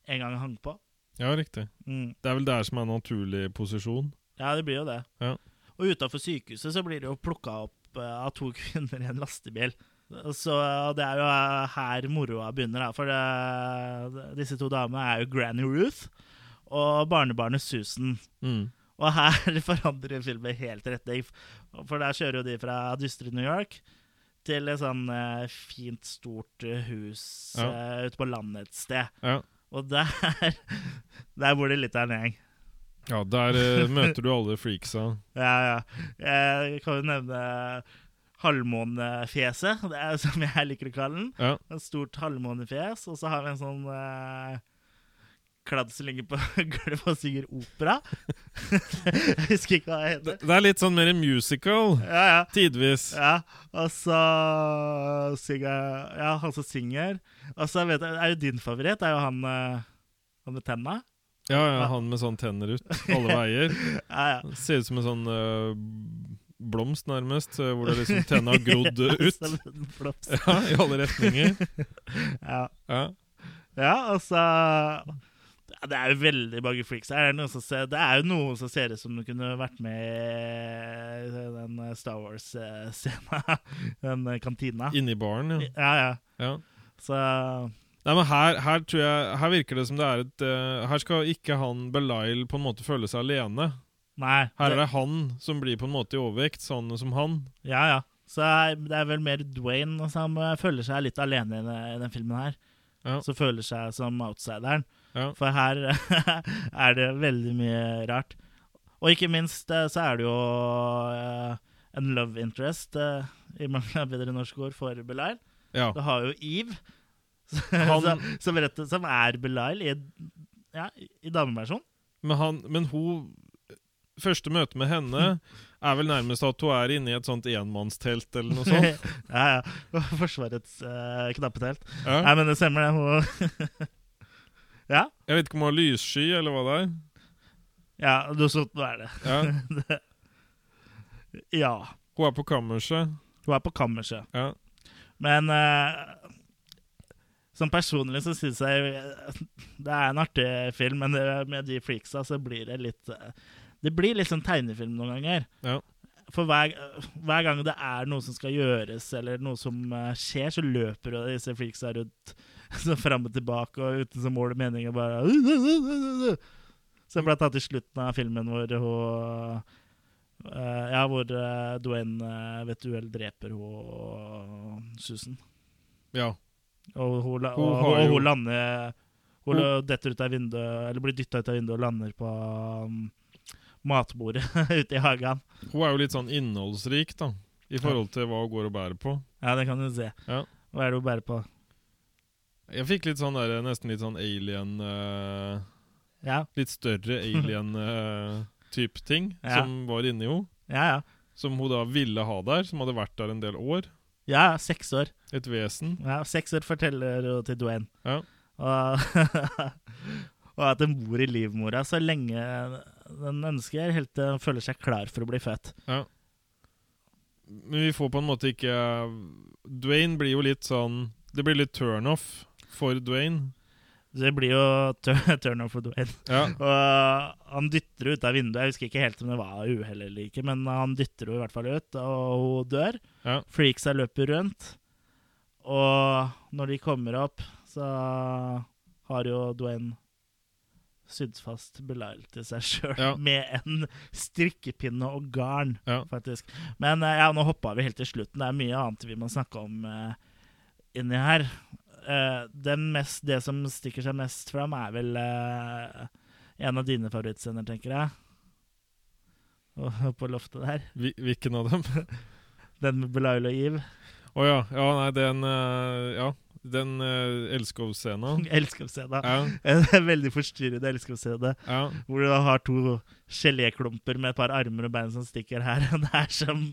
Speaker 1: en gang hang på.
Speaker 2: ja, riktig.
Speaker 1: Mm.
Speaker 2: Det er vel der som er naturlig posisjon.
Speaker 1: Ja, det blir jo det.
Speaker 2: Ja.
Speaker 1: Og utafor sykehuset så blir det jo plukka opp eh, av to kvinner i en lastebil. Så eh, det er jo eh, her moroa begynner, da. For eh, disse to damene er jo Granny Ruth og barnebarnet Susan.
Speaker 2: Mm.
Speaker 1: Og her forandrer filmen helt retning. For der kjører jo de fra dystre New York til et sånn eh, fint, stort eh, hus
Speaker 2: Ja.
Speaker 1: eh, ute på landet et sted.
Speaker 2: Ja.
Speaker 1: Og der, der bor det litt av en gjeng.
Speaker 2: ja, der eh, møter du alle freaksa.
Speaker 1: Ja, ja. Jeg kan jo nevne halvmånefjeset, det er som jeg liker å kalle den.
Speaker 2: Ja.
Speaker 1: Et stort halvmånefjes, og så har vi en sånn eh, kladd som ligger på gulvet og synger opera. jeg husker ikke hva det
Speaker 2: Det
Speaker 1: heter.
Speaker 2: det er litt sånn mer musical.
Speaker 1: Ja, ja.
Speaker 2: Tidvis.
Speaker 1: Ja, og så synger Ja, han som synger. Og så vet jeg, er jo din favoritt, er jo han, eh, han med tenna.
Speaker 2: Ja, ja, han med sånn tenner ut alle veier.
Speaker 1: Ja, ja.
Speaker 2: Ser ut som en sånn eh, blomst, nærmest, eh, hvor det liksom tenna har grodd eh, ut.
Speaker 1: Som en flops.
Speaker 2: Ja, I alle retninger.
Speaker 1: Ja.
Speaker 2: Ja.
Speaker 1: Ja, altså ja, Det er jo veldig mange freaks her. Er det noen som ser- Det er jo noen som ser ut som de kunne vært med i den eh, Star Wars-scena. Den eh, kantina.
Speaker 2: Inni baren, ja.
Speaker 1: Ja, ja.
Speaker 2: ja.
Speaker 1: Så
Speaker 2: Nei, men her, her tror jeg Her virker det som det er et eh, Her skal ikke han Belial på en måte føle seg alene.
Speaker 1: Nei.
Speaker 2: Her er
Speaker 1: det-
Speaker 2: det han som blir på en måte i overvekt, sånn som han.
Speaker 1: Ja, ja. Så er- det er vel mer Dwayne som eh, føler seg litt alene i den- i den filmen her.
Speaker 2: Ja.
Speaker 1: Som føler seg som outsideren.
Speaker 2: Ja.
Speaker 1: For her er det veldig mye rart. Og ikke minst eh, så er det jo eh, en love interest, eh, i mangel av bedre norske ord, for Belial.
Speaker 2: Ja.
Speaker 1: Du har jo Eve,
Speaker 2: Han-
Speaker 1: som, som, rett, som er Belial i, ja, i dameversjon.
Speaker 2: Men, han, men hun Første møte med henne er vel nærmest at hun er inne i et sånt enmannstelt eller noe
Speaker 1: ja,
Speaker 2: sånt.
Speaker 1: ja. Forsvarets eh, knappetelt.
Speaker 2: Ja.
Speaker 1: Nei, men det stemmer, det. Hun- ja,
Speaker 2: Jeg vet ikke om hun har lyssky eller hva det er.
Speaker 1: ja, du så hva er det.
Speaker 2: Ja.
Speaker 1: Ja.
Speaker 2: Hun er på kammerset.
Speaker 1: Hun er på kammerset.
Speaker 2: Ja.
Speaker 1: Men eh, som personlig så syns jeg eh, det er en artig film, men det, med de freaksa så blir det litt eh, Det blir litt sånn tegnefilm noen ganger.
Speaker 2: Ja.
Speaker 1: For hver, hver gang det er noe som skal gjøres, eller noe som eh, skjer, så løper jo disse freaksa rundt så fram og tilbake og uten som mål og mening og bare Som ble tatt i slutten av filmen hvor hun eh, Ja, hvor eh, Dwayne eh, ved et uhell dreper hun og Susan.
Speaker 2: ja.
Speaker 1: Og hun, la-
Speaker 2: Hun
Speaker 1: og,
Speaker 2: har
Speaker 1: og
Speaker 2: jo-
Speaker 1: hun lander Hun
Speaker 2: Hun-
Speaker 1: detter ut av vinduet Eller blir dytta ut av vinduet og lander på um, matbordet ute i hagen.
Speaker 2: Hun er jo litt sånn innholdsrik, da. I forhold til hva hun går og bærer på.
Speaker 1: Ja, det kan du se.
Speaker 2: Ja.
Speaker 1: Hva er det hun bærer på?
Speaker 2: Jeg fikk litt sånn der, nesten litt sånn alien eh,
Speaker 1: Ja,
Speaker 2: litt større alien-type ting
Speaker 1: Ja.
Speaker 2: som var inni henne.
Speaker 1: ja, ja.
Speaker 2: Som hun da ville ha der, som hadde vært der en del år.
Speaker 1: Ja, ja, seks år.
Speaker 2: Et vesen.
Speaker 1: Ja, seks år forteller hun til Dwayne.
Speaker 2: Ja.
Speaker 1: Og, og at hun bor i livmora så lenge den ønsker, helt til hun føler seg klar for å bli født.
Speaker 2: Men vi får på en måte ikke Dwayne blir jo litt sånn Det blir litt turnoff for Dwayne.
Speaker 1: Så det blir jo tur- turn-off for Dwayne.
Speaker 2: Ja.
Speaker 1: Og eh, han dytter henne ut av vinduet. Jeg husker ikke helt om det var uhell eller ikke, men han dytter henne i hvert fall ut, og hun dør.
Speaker 2: Ja.
Speaker 1: Freaksa løper rundt, og når de kommer opp, så har jo Dwayne sydd fast Belial til seg sjøl
Speaker 2: Ja.
Speaker 1: med en strikkepinne og garn,
Speaker 2: Ja.
Speaker 1: faktisk. Men eh, ja, nå hoppa vi helt til slutten. Det er mye annet vi må snakke om eh, inni her. Eh, den mest, det som stikker seg mest fram, er vel eh, en av dine favorittscener, tenker jeg. og- på loftet der.
Speaker 2: Hvi- Hvilken av dem?
Speaker 1: Den med Belial og Eve.
Speaker 2: Å ja. ja. Nei, den eh, Ja. Den eh, Elskov-scenen.
Speaker 1: Elsker å se det.
Speaker 2: Ja,
Speaker 1: En veldig forstyrrende elsker å se det.
Speaker 2: ja.
Speaker 1: Hvor du da har to geléklumper med et par armer og bein som stikker her og der, som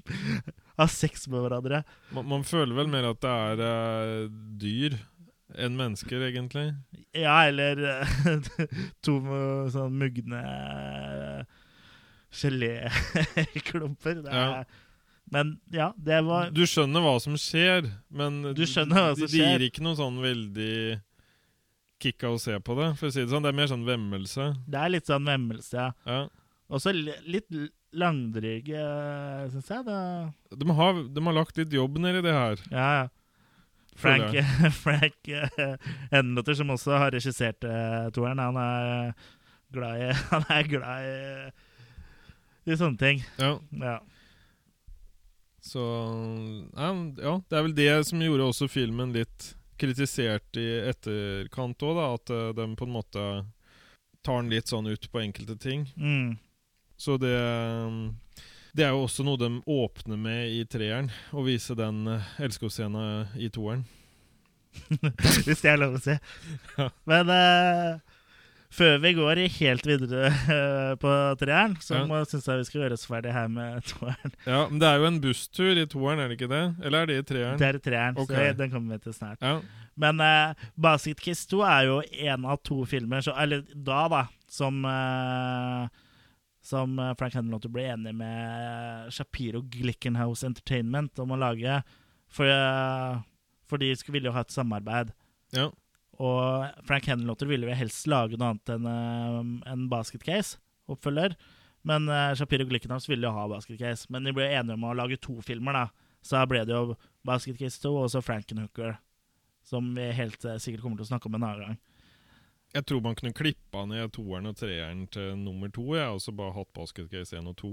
Speaker 1: har sex med hverandre.
Speaker 2: Man, man føler vel mer at det er eh, dyr enn mennesker, egentlig.
Speaker 1: Ja, eller eh, to mu- sånn mugne eh, geléklumper. Det er-
Speaker 2: Ja.
Speaker 1: Men ja, det var
Speaker 2: Du skjønner hva som skjer, men
Speaker 1: Du skjønner hva som
Speaker 2: de- det
Speaker 1: skjer.
Speaker 2: gir ikke noe sånn veldig kick av å se på det, for å si det sånn. Det er mer sånn vemmelse.
Speaker 1: Det er litt sånn vemmelse, ja.
Speaker 2: Ja.
Speaker 1: Også li- litt l- langdryge, syns jeg. Da.
Speaker 2: De, har, de har lagt litt jobb nedi det her.
Speaker 1: Ja, ja.
Speaker 2: føler
Speaker 1: Frank,
Speaker 2: jeg.
Speaker 1: Frank eh, Henlotter, som også har regissert eh, toeren, han er glad i Han er glad i, i sånne ting.
Speaker 2: Ja,
Speaker 1: Ja.
Speaker 2: så ja, men- ja, det er vel det som gjorde også filmen litt kritisert i etterkant òg, da. At eh, de på en måte tar den litt sånn ut på enkelte ting.
Speaker 1: Mm.
Speaker 2: Så det um, Det er jo også noe de åpner med i treeren, å vise den eh, elskovsscenen i toeren.
Speaker 1: Hvis det er lov å si.
Speaker 2: Ja.
Speaker 1: Men eh, før vi går i helt videre eh, på treeren, så
Speaker 2: Ja.
Speaker 1: må syns jeg vi skal gjøre oss ferdig her med toeren.
Speaker 2: Ja, men det er jo en busstur i toeren, er det ikke det? Eller er det i treeren?
Speaker 1: Det er treeren,
Speaker 2: Ok.
Speaker 1: så den kommer vi til snart.
Speaker 2: Ja,
Speaker 1: Men eh, Basket Kiss 2 er jo en av to filmer, så, eller da, da, som eh, som eh, Frank Henlotter ble enig med eh, Shapiro Glickenhouse Entertainment om å lage. For, eh, for de skulle, ville jo ha et samarbeid.
Speaker 2: ja,
Speaker 1: Og Frank Henlotter ville jo helst lage noe annet enn eh, en Basket Case, oppfølger. Men eh, Shapiro Glickenhouse ville jo ha Basket Case. Men de ble enige om å lage to filmer, da. Så her ble det jo Basket Case 2 og så Frankenhooker. Som vi helt eh, sikkert kommer til å snakke om en annen gang.
Speaker 2: Jeg tror man kunne klippa ned toeren og treeren til nummer to, jeg, og så bare hatt Basket Case 1 og 2.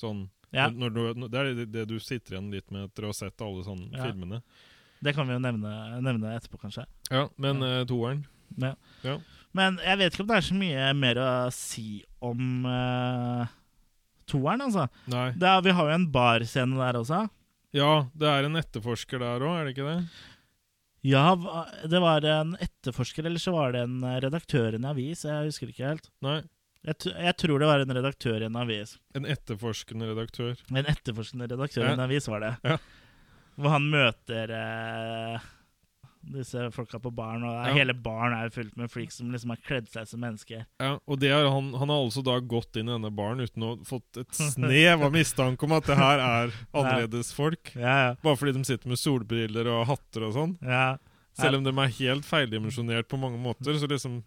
Speaker 2: Sånn.
Speaker 1: Ja,
Speaker 2: Når du, når- det er det, det du sitter igjen litt med etter å ha sett alle sånne
Speaker 1: Ja.
Speaker 2: filmene.
Speaker 1: Det kan vi jo nevne, nevne etterpå, kanskje.
Speaker 2: Ja, men eh, toeren
Speaker 1: Ja.
Speaker 2: Ja.
Speaker 1: Men jeg vet ikke om det er så mye mer å si om eh, toeren, altså.
Speaker 2: Nei.
Speaker 1: Det er, vi har jo en barscene der også.
Speaker 2: Ja, det er en etterforsker der òg, er det ikke det?
Speaker 1: Ja, hva- det var en etterforsker, eller så var det en redaktør i en avis. Jeg husker ikke helt.
Speaker 2: Nei.
Speaker 1: Jeg, tr- jeg tror det var en redaktør i en avis.
Speaker 2: En etterforskende redaktør.
Speaker 1: En etterforskende redaktør i en
Speaker 2: Ja.
Speaker 1: avis var det.
Speaker 2: Ja.
Speaker 1: Hvor han møter eh, disse folka på baren, og
Speaker 2: Ja.
Speaker 1: hele baren er fullt med freaks som liksom har kledd seg som mennesker.
Speaker 2: Ja, og det er han, han har altså da gått inn i denne baren uten å ha fått et snev av mistanke om at det her er annerledes folk.
Speaker 1: Ja,
Speaker 2: Bare fordi de sitter med solbriller og hatter og sånn.
Speaker 1: ja.
Speaker 2: Selv om de er helt feildimensjonert på mange måter, så liksom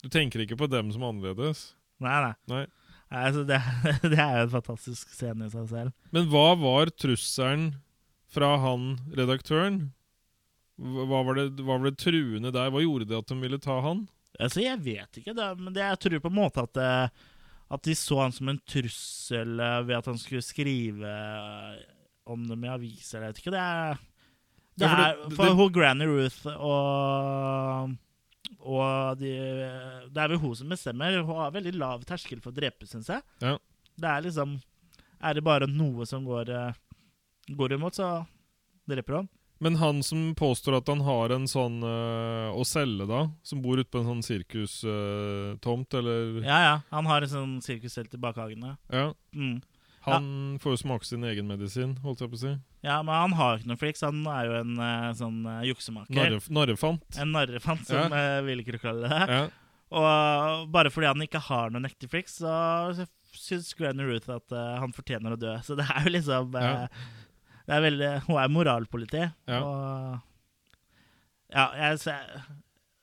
Speaker 2: Du tenker ikke på dem som annerledes.
Speaker 1: Nei, nei.
Speaker 2: Nei.
Speaker 1: Nei, Altså, det, det er jo en fantastisk scene i seg selv.
Speaker 2: Men hva var trusselen fra han redaktøren? Hva hva var, det, hva var det truende der? Hva gjorde det at de ville ta han?
Speaker 1: Altså, jeg vet ikke, det, men det, jeg tror på en måte at, eh, at de så han som en trussel eh, ved at han skulle skrive eh, om dem i aviser. Jeg vet ikke, det er det
Speaker 2: Ja, for
Speaker 1: er,
Speaker 2: det-
Speaker 1: for
Speaker 2: det-
Speaker 1: hun Granny Ruth og, og de, Det er vel hun som bestemmer. Hun har veldig lav terskel for å drepe, syns jeg.
Speaker 2: Ja.
Speaker 1: Det er liksom Er det bare noe som går, eh, går imot, så dreper hun.
Speaker 2: Men han som påstår at han har en sånn øh, å selge, da, som bor ute på en sånn sirkustomt, eller
Speaker 1: Ja, ja. Han har en sånn sirkushelt i bakhagen. ja.
Speaker 2: Ja.
Speaker 1: Mm.
Speaker 2: Han får jo smake sin egen medisin, holdt jeg på å si.
Speaker 1: Ja, men han har jo ikke noe fliks. Han er jo en eh, sånn eh, juksemaker.
Speaker 2: Narre, narrefant.
Speaker 1: En narrefant, som
Speaker 2: Ja.
Speaker 1: eh, vi liker å kalle det.
Speaker 2: Ja.
Speaker 1: Og eh, bare fordi han ikke har noen ekte fliks, så syns Granny Ruth at eh, han fortjener å dø. Så det er jo liksom eh,
Speaker 2: Ja.
Speaker 1: Det er veldig Hun er moralpoliti.
Speaker 2: Ja.
Speaker 1: Og Ja, jeg, ser-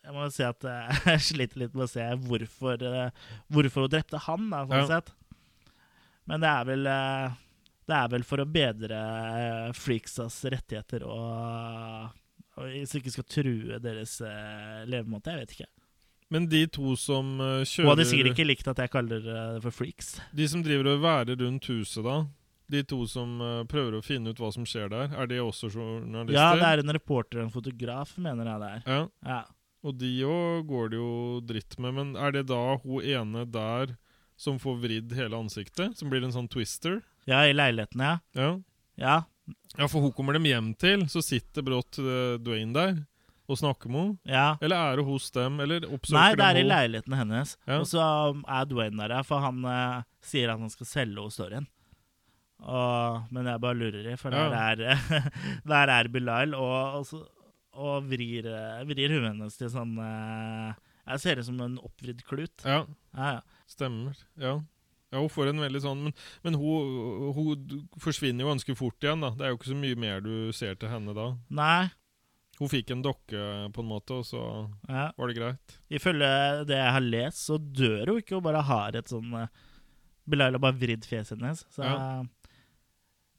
Speaker 1: jeg må jo si at eh, jeg sliter litt med å se hvorfor, eh, hvorfor hun drepte han, da, sånn
Speaker 2: Ja.
Speaker 1: sett. Men det er vel eh, Det er vel for å bedre eh, freaksas rettigheter og, og Så ikke skal true deres eh, levemåte. Jeg vet ikke.
Speaker 2: Men de to som øh,
Speaker 1: Hun
Speaker 2: kjører
Speaker 1: hadde sikkert ikke likt at jeg kaller det eh, for freaks.
Speaker 2: De som driver og værer rundt huset, da. De to som øh, prøver å finne ut hva som skjer der. Er de også journalister?
Speaker 1: Ja, det er en reporter og en fotograf, mener jeg det er.
Speaker 2: Ja,
Speaker 1: Ja.
Speaker 2: Og de òg går det jo dritt med, men er det da hun ene der som får vridd hele ansiktet. Som blir en sånn twister.
Speaker 1: Ja, i leiligheten, ja.
Speaker 2: Ja,
Speaker 1: Ja,
Speaker 2: ja for hun kommer dem hjem til, så sitter brått eh, Dwayne der og snakker med henne.
Speaker 1: ja.
Speaker 2: Eller er det hos dem, eller oppsøker
Speaker 1: Nei, det er i
Speaker 2: dem hun-
Speaker 1: leiligheten hennes.
Speaker 2: Ja.
Speaker 1: Og så um, er Dwayne der, ja, for han eh, sier at han skal selge henne storyen. Og, men jeg bare lurer i, for
Speaker 2: Ja.
Speaker 1: der, er, der er Bilal og, og, så, og vrir, eh, vrir huet hennes til sånn eh, Jeg ser ut som en oppvridd klut.
Speaker 2: Ja,
Speaker 1: Ja, ja.
Speaker 2: Stemmer. Ja. ja, hun får en veldig sånn Men, men hun, hun d- forsvinner jo ganske fort igjen, da. Det er jo ikke så mye mer du ser til henne da.
Speaker 1: Nei.
Speaker 2: Hun fikk en dokke, på en måte, og så
Speaker 1: Ja.
Speaker 2: var det greit.
Speaker 1: Ifølge det jeg har lest, så dør hun ikke, hun bare har et sånn eh, Bilal har bare vridd fjeset hennes. Så
Speaker 2: Ja.
Speaker 1: eh,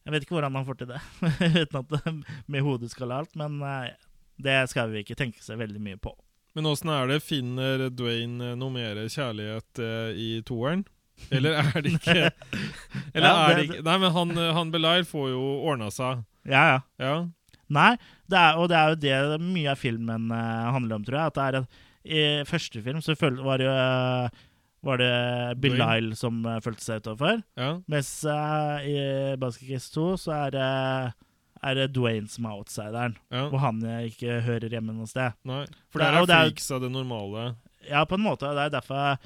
Speaker 1: jeg vet ikke hvordan han får til det, uten at det med hodet skal alt, men eh, det skal vi ikke tenke seg veldig mye på.
Speaker 2: Men åssen er det? Finner Dwayne noe mer kjærlighet eh, i toeren? Eller er det ikke Eller
Speaker 1: Ja,
Speaker 2: er det
Speaker 1: det-
Speaker 2: ikke Nei, men han, han Belair får jo ordna seg.
Speaker 1: Ja, ja.
Speaker 2: Ja.
Speaker 1: Nei, det er, og det er jo det mye av filmen eh, handler om, tror jeg. At det er at I første film så føl var det jo eh, var det Bilal som eh, følte seg utafor.
Speaker 2: ja.
Speaker 1: Mens eh, i Basket Case 2 så er det, er det Dwayne som er outsideren.
Speaker 2: Ja.
Speaker 1: hvor han eh, ikke hører hjemme noe sted.
Speaker 2: Nei. For
Speaker 1: Det er
Speaker 2: der
Speaker 1: jo-
Speaker 2: er
Speaker 1: det er jo-
Speaker 2: freaks av det normale.
Speaker 1: Ja, på en måte. Det er derfor,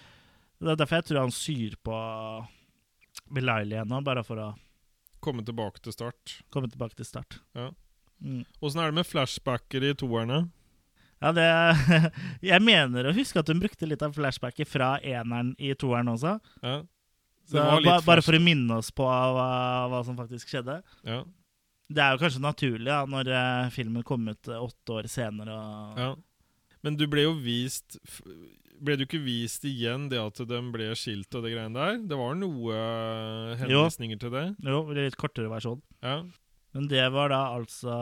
Speaker 1: det er derfor jeg tror han syr på Belail igjen nå, bare for å
Speaker 2: Komme tilbake til start.
Speaker 1: komme tilbake til start.
Speaker 2: Ja.
Speaker 1: Mm.
Speaker 2: Åssen er det med flashbacker i toerne?
Speaker 1: Ja, det Jeg mener å huske at hun brukte litt av flashbacket fra eneren i toeren også.
Speaker 2: Ja.
Speaker 1: Så ba, bare for å minne oss på hva, hva som faktisk skjedde.
Speaker 2: Ja,
Speaker 1: Det er jo kanskje naturlig da, når eh, filmen kom ut eh, åtte år senere. Og,
Speaker 2: ja. Men du ble jo vist f- Ble du ikke vist igjen det at de ble skilt og det greiene der? Det var noe eh, henvisninger til det?
Speaker 1: Jo, litt kortere versjon.
Speaker 2: Ja.
Speaker 1: Men det var da altså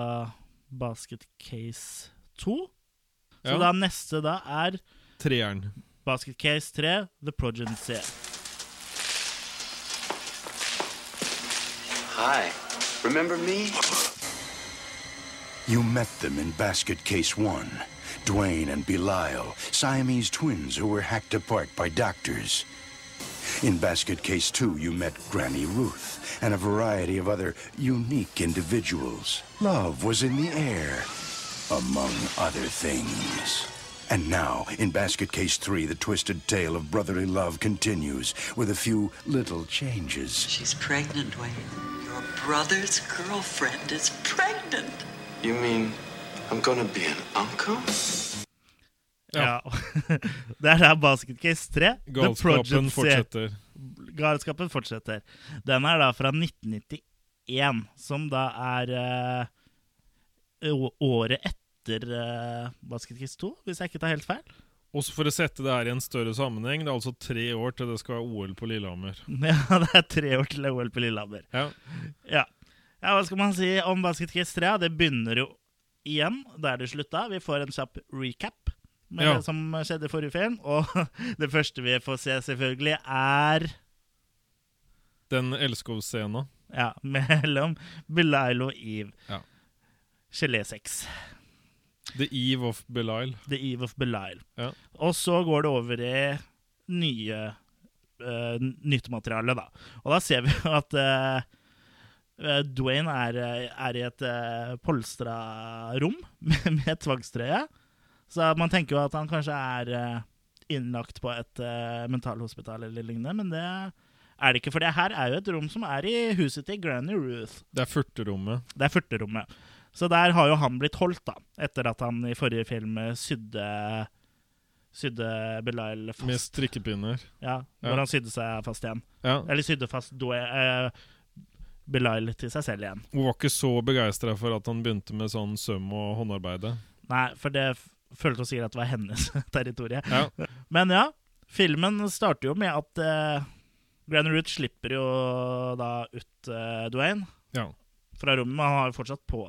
Speaker 1: Basket Case 2. Så
Speaker 2: ja.
Speaker 1: da neste da er
Speaker 2: Treeren.
Speaker 1: Basket Case 3, The Progeny.
Speaker 4: Hi. Remember me?
Speaker 5: You met them in Basket Case 1. Dwayne and Belial, Siamese twins who were hacked apart by doctors. In Basket Case 2, you met Granny Ruth and a variety of other unique individuals. Love was in the air, among other things. And now, in Basket Case 3, the twisted tale of brotherly love continues with a few little changes.
Speaker 6: She's pregnant, Dwayne. Your brother's girlfriend is pregnant.
Speaker 4: You mean I'm gonna be an uncle?
Speaker 1: Ja. det er da Basket Case 3, The
Speaker 2: Galskapen
Speaker 1: Progeny.
Speaker 2: fortsetter.
Speaker 1: Galskapen fortsetter. Den er da fra 1991, som da er eh, å- året etter eh, Basket Case 2, hvis jeg ikke tar helt feil.
Speaker 2: Også for å sette det her i en større sammenheng, det er altså tre år til det skal være OL på Lillehammer.
Speaker 1: Ja, det er tre år til OL på Lillehammer.
Speaker 2: Ja.
Speaker 1: Ja. ja, hva skal man si om Basket Case 3? Det begynner jo igjen der det slutta. Vi får en kjapp recap med
Speaker 2: Ja.
Speaker 1: det som skjedde i forrige film. Og det første vi får se, selvfølgelig, er
Speaker 2: Den Elskov-scena.
Speaker 1: ja, mellom Belial og Eve.
Speaker 2: Ja.
Speaker 1: Gelésex.
Speaker 2: The Eve of Belial.
Speaker 1: The Eve of Belial.
Speaker 2: Ja.
Speaker 1: Og så går det over i nye eh, nytt materiale, da. Og da ser vi jo at eh, eh, Dwayne er, eh, er i et uh, polstra rom med, med tvangstrøye. Så man tenker jo at han kanskje er eh, innlagt på et eh, mentalhospital eller lignende, men det er det ikke. For det her er jo et rom som er i huset til Granny Ruth.
Speaker 2: Det er furterommet.
Speaker 1: Det er furterommet. Så der har jo han blitt holdt, da. Etter at han i forrige film eh, sydde Sydde Belail fast.
Speaker 2: Med strikkepinner.
Speaker 1: ja,
Speaker 2: ja.
Speaker 1: Hvor han sydde seg fast igjen.
Speaker 2: Ja.
Speaker 1: Eller sydde fast do, eh, Belail til seg selv igjen.
Speaker 2: Hun var ikke så begeistra for at han begynte med sånn søm og håndarbeide.
Speaker 1: Nei, for det f- følte hun sikkert at det var hennes territorium.
Speaker 2: Ja.
Speaker 1: Men ja, filmen starter jo med at eh, Granny Root slipper jo da ut eh, Dwayne.
Speaker 2: ja.
Speaker 1: fra rommet. men Han har jo fortsatt på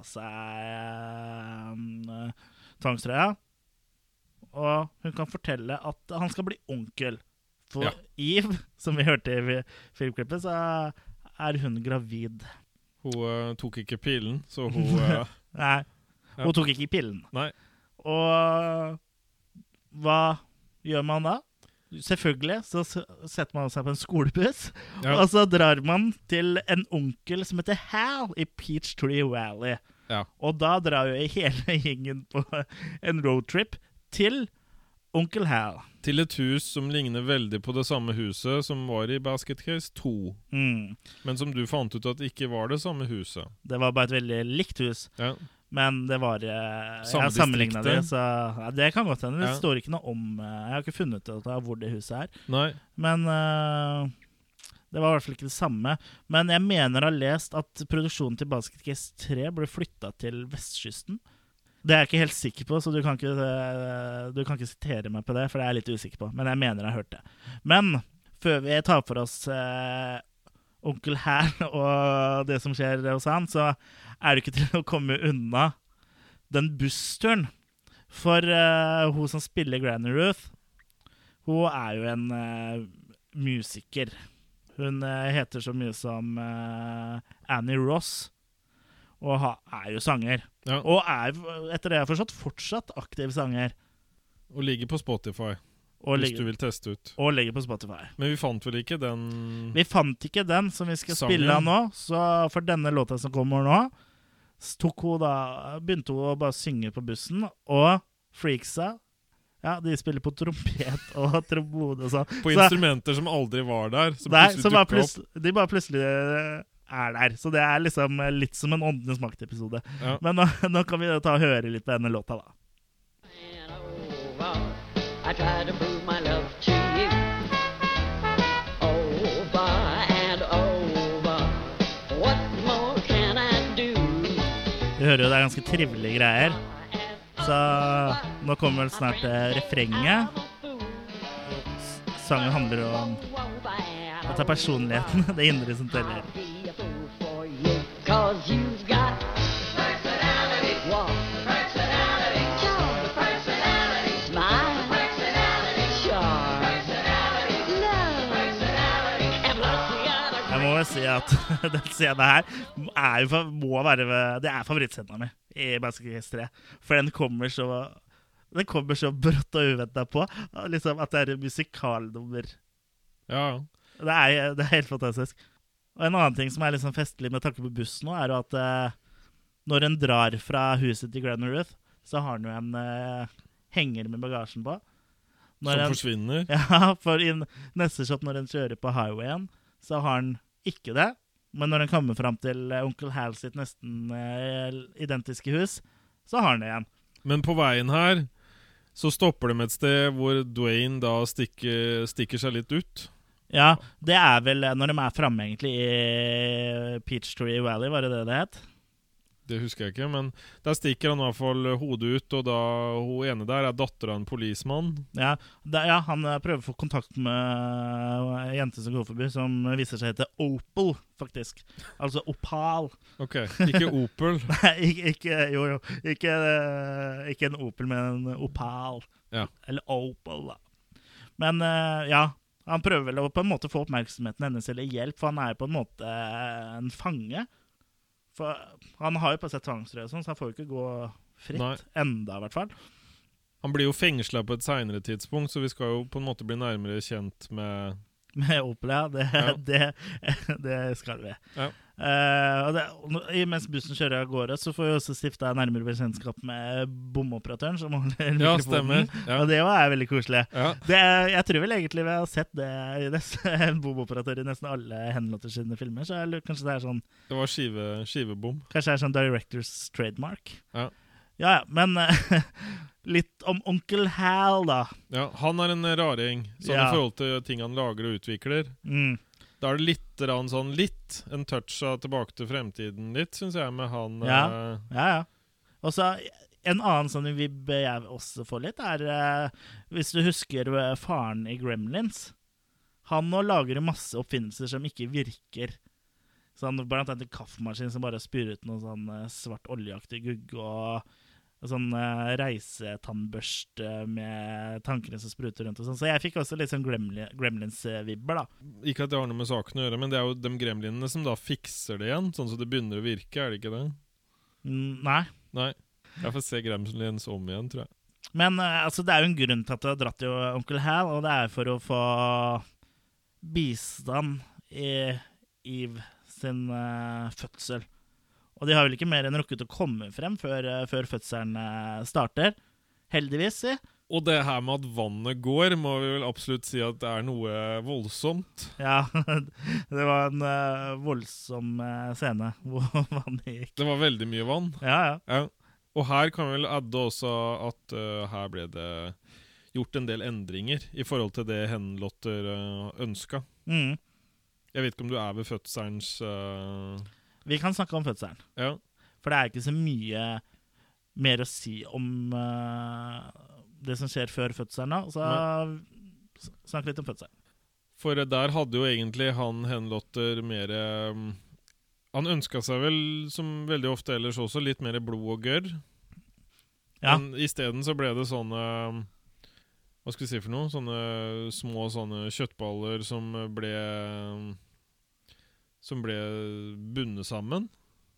Speaker 1: seg eh, tvangstrøya. Og hun kan fortelle at han skal bli onkel. For
Speaker 2: Ja.
Speaker 1: Eve, som vi hørte i vi- filmklippet, så er hun gravid.
Speaker 2: Hun eh, tok ikke pilen, så hun eh,
Speaker 1: Nei,
Speaker 2: Ja.
Speaker 1: hun tok ikke pillen.
Speaker 2: Nei.
Speaker 1: Og hva gjør man da? Selvfølgelig så s- setter man seg på en skolebuss,
Speaker 2: Ja.
Speaker 1: og så drar man til en onkel som heter Hal i Peachtree Valley.
Speaker 2: Ja.
Speaker 1: Og da drar jo hele gjengen på en roadtrip til onkel Hal.
Speaker 2: Til et hus som ligner veldig på det samme huset som var i Basket Case 2.
Speaker 1: Mm.
Speaker 2: Men som du fant ut at ikke var det samme huset.
Speaker 1: Det var bare et veldig likt hus,
Speaker 2: Ja.
Speaker 1: men det var eh, Jeg
Speaker 2: Samme
Speaker 1: har sammenligna det,
Speaker 2: distriktet.
Speaker 1: så ja, det kan godt hende. Det
Speaker 2: Ja.
Speaker 1: står ikke noe om eh, Jeg har ikke funnet ut av hvor det huset er.
Speaker 2: Nei.
Speaker 1: Men eh, det var i hvert fall ikke det samme. Men jeg mener å ha lest at produksjonen til Basket Case 3 ble flytta til vestkysten. Det er jeg ikke helt sikker på, så du kan ikke, eh, du kan ikke sitere meg på det. For det er jeg litt usikker på, men jeg mener jeg har hørt det. Men før vi tar for oss eh, onkel Hæl og det som skjer hos han, så er det ikke til å komme unna den bussturen. For eh, hun som spiller Granny Ruth, hun er jo en eh, musiker. Hun eh, heter så mye som eh, Annie Ross, og ha, er jo sanger.
Speaker 2: Ja.
Speaker 1: Og er, etter det jeg har forstått, fortsatt aktiv sanger.
Speaker 2: Og ligger på Spotify,
Speaker 1: Og
Speaker 2: hvis du
Speaker 1: legger,
Speaker 2: vil teste ut.
Speaker 1: og legger på Spotify.
Speaker 2: Men vi fant vel ikke den
Speaker 1: Vi fant ikke den som vi skal
Speaker 2: Sangen.
Speaker 1: spille av nå, så for denne låta som kommer nå, s- tok hun da, begynte hun å bare synge på bussen, og freaksa ja, de spiller på trompet og trombone og sånn.
Speaker 2: På
Speaker 1: Så-
Speaker 2: instrumenter som aldri var der. Som
Speaker 1: Nei,
Speaker 2: plutselig
Speaker 1: så bare
Speaker 2: dukket opp.
Speaker 1: plutselig, de bare plutselig eh, er der. Så det er liksom eh, litt som en Åndenes makt-episode.
Speaker 2: Ja.
Speaker 1: Men nå, nå kan vi ta og høre litt på denne låta, da.
Speaker 7: and over. I tried to prove my love to you. Over and over. What more can I do?
Speaker 1: Vi hører jo det er ganske trivelige greier.
Speaker 7: And
Speaker 1: Så nå kommer vel snart eh, refrenget.
Speaker 7: I'm a fool.
Speaker 1: Sangen handler jo om
Speaker 7: Over and
Speaker 1: at det er personligheten, det indre, som teller.
Speaker 7: I'll be a fool for you, cause you've got personality. Walk. Personality. Talk. Personality. Smile. Personality. Charm. Personality. Love. Personality. And plus you got a
Speaker 1: Jeg må vel si at den scenen her er jo, fa- må være Det er favorittscenen min i Basket Case 3. For den kommer så Den kommer så brått og uventa på. Liksom at det er et musikalnummer.
Speaker 2: Ja, ja.
Speaker 1: Det er, det er helt fantastisk. Og en annen ting som er litt sånn festlig med tanke på buss nå, er jo at eh, når en drar fra huset til Glenn Ruth, så har han jo en eh, henger med bagasjen på. Når
Speaker 2: Som
Speaker 1: en-
Speaker 2: forsvinner.
Speaker 1: Ja, for i neste shot når en kjører på highwayen, så har han ikke det. Men når en kommer fram til eh, onkel Hal sitt nesten eh, identiske hus, så har han det igjen.
Speaker 2: Men på veien her så stopper de et sted hvor Dwayne da stikker, stikker seg litt ut.
Speaker 1: Ja, det er vel eh, når de er framme, egentlig, i Peachtree Valley, var det det det het?
Speaker 2: Det husker jeg ikke, men der stikker han i hvert fall hodet ut, og da hun ene der er dattera av en policemann.
Speaker 1: Ja, da, ja, han eh, prøver å få kontakt med eh, ei jente som går forbi, som viser seg hete Opal, faktisk. Altså Opal.
Speaker 2: Ok, ikke Opel.
Speaker 1: Nei, ikke, ikke Jo, jo. Ikke, eh, ikke en Opel, men en Opal.
Speaker 2: Ja.
Speaker 1: Eller Opal, da. Men eh, ja, han prøver vel å på en måte få oppmerksomheten hennes eller hjelp, for han er jo på en måte eh, en fange. For han har jo på seg tvangsrøye, og sånn, så han får jo ikke gå fritt.
Speaker 2: Nei.
Speaker 1: Enda, i hvert fall.
Speaker 2: Han blir jo fengsla på et seinere tidspunkt, så vi skal jo på en måte bli nærmere kjent med
Speaker 1: Med Opel, ja. Det,
Speaker 2: Ja.
Speaker 1: det, det skal vi.
Speaker 2: Ja.
Speaker 1: Eh, og det, og nå- i- mens bussen kjører av gårde, så får vi også stifta nærmere bekjentskap med bomoperatøren som holder
Speaker 2: Ja,
Speaker 1: mikrofonen.
Speaker 2: stemmer. Ja.
Speaker 1: Og det også er veldig koselig.
Speaker 2: Ja.
Speaker 1: Det, er- jeg tror vel egentlig vi har sett det i nesten, en bomoperatør i nesten alle henlåter sine filmer. Så jeg lurer, kanskje det er sånn
Speaker 2: Det var skive, skivebom.
Speaker 1: Kanskje det er sånn directors trademark.
Speaker 2: Ja.
Speaker 1: ja, ja, men eh, litt om onkel Hal, da.
Speaker 2: Ja, han er en raring, sånn
Speaker 1: Ja.
Speaker 2: i forhold til ting han lager og utvikler.
Speaker 1: Mm.
Speaker 2: Da er det litt rann sånn litt en touch av Tilbake til fremtiden litt, syns jeg, med han
Speaker 1: Ja.
Speaker 2: eh,
Speaker 1: Ja, ja. Og så en annen sånn vibb jeg også får litt, er eh, Hvis du husker eh, faren i Gremlins Han nå lager jo masse oppfinnelser som ikke virker. Sånn, blant annet en kaffemaskin som bare spyr ut noe sånn eh, svart oljeaktig gugge, og og sånn eh, reisetannbørste med tankene som spruter rundt og sånn. Så jeg fikk også litt sånn Gremli- Gremlins-vibber, da.
Speaker 2: Ikke at det har noe med saken å gjøre, men det er jo de gremlinene som da fikser det igjen, sånn at det begynner å virke, er det ikke det?
Speaker 1: Mm, nei.
Speaker 2: Nei. Jeg får se gremlins om igjen, tror jeg.
Speaker 1: Men eh, altså, det er jo en grunn til at du har dratt til onkel Hal, og det er for å få bistand i Eve sin eh, fødsel. Og de har vel ikke mer enn rukket å komme frem før, eh, før fødselen eh, starter. Heldigvis, si.
Speaker 2: Og det her med at vannet går, må vi vel absolutt si at det er noe voldsomt.
Speaker 1: Ja, det var en eh, voldsom eh, scene hvor vannet gikk.
Speaker 2: Det var veldig mye vann.
Speaker 1: Ja, ja.
Speaker 2: Ja. Og her kan vi vel adde også at eh, her ble det gjort en del endringer i forhold til det Henlotter uh, ønska.
Speaker 1: Mm.
Speaker 2: Jeg vet ikke om du er ved fødselens eh,
Speaker 1: Vi kan snakke om fødselen.
Speaker 2: Ja.
Speaker 1: For det er ikke så mye mer å si om eh, det som skjer før fødselen. da. Så s- snakk litt om fødselen.
Speaker 2: For der hadde jo egentlig han Henlotter mer eh, Han ønska seg vel, som veldig ofte ellers også, litt mer blod og gørr.
Speaker 1: Ja.
Speaker 2: Men isteden så ble det sånne Hva skal vi si for noe? Sånne små sånne kjøttballer som ble Som ble bundet sammen.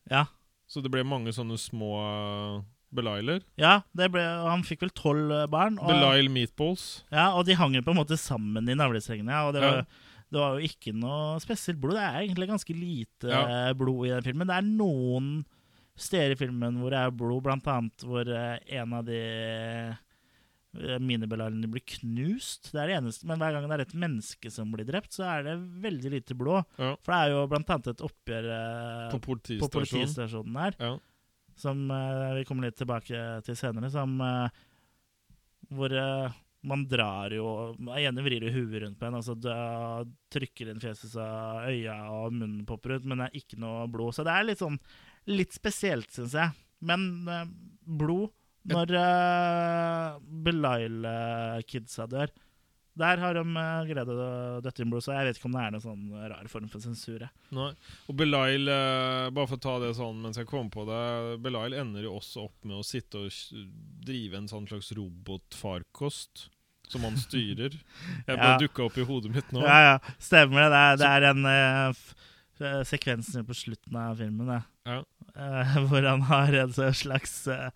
Speaker 1: Ja,
Speaker 2: Så det ble mange sånne små eh, Beliler.
Speaker 1: ja det ble, og han fikk vel tolv eh, barn. Og,
Speaker 2: Belile meatballs.
Speaker 1: ja, og de hang jo på en måte sammen i navlestrengene. ja, Og det var,
Speaker 2: Ja.
Speaker 1: det var jo ikke noe spesielt blod. Det er egentlig ganske lite
Speaker 2: Ja.
Speaker 1: eh, blod i den filmen. Det er noen steder i filmen hvor det er blod, blant annet hvor eh, en av de eh, minibelalene blir knust. Det er det eneste, men hver gang det er et menneske som blir drept, så er det veldig lite blod.
Speaker 2: Ja.
Speaker 1: For det er jo blant annet et oppgjør eh,
Speaker 2: På
Speaker 1: på
Speaker 2: politistasjonen.
Speaker 1: politistasjonen her,
Speaker 2: Ja.
Speaker 1: som eh, vi kommer litt tilbake til senere, som eh, hvor eh, man drar jo Ene vrir jo huet rundt på en, altså da trykker inn fjeset så øya og munnen popper ut, men det er ikke noe blod. Så det er litt sånn litt spesielt, syns jeg. Men eh, blod når uh, Belial-kidsa dør Der har de eh, greid å døtte inn blod, så jeg vet ikke om det er noen sånn rar form for sensur. jeg.
Speaker 2: Nei. Og Belial, eh, bare for å ta det sånn mens jeg kom på det Belial ender jo også opp med å sitte og s- drive en sånn slags robotfarkost som han styrer. Jeg bare
Speaker 1: Ja.
Speaker 2: dukka opp i hodet mitt nå.
Speaker 1: Ja, ja, stemmer det. Det er, det er den eh, f- eh, sekvensen på slutten av filmen, det.
Speaker 2: Ja.
Speaker 1: Eh, hvor han har en sånn slags eh,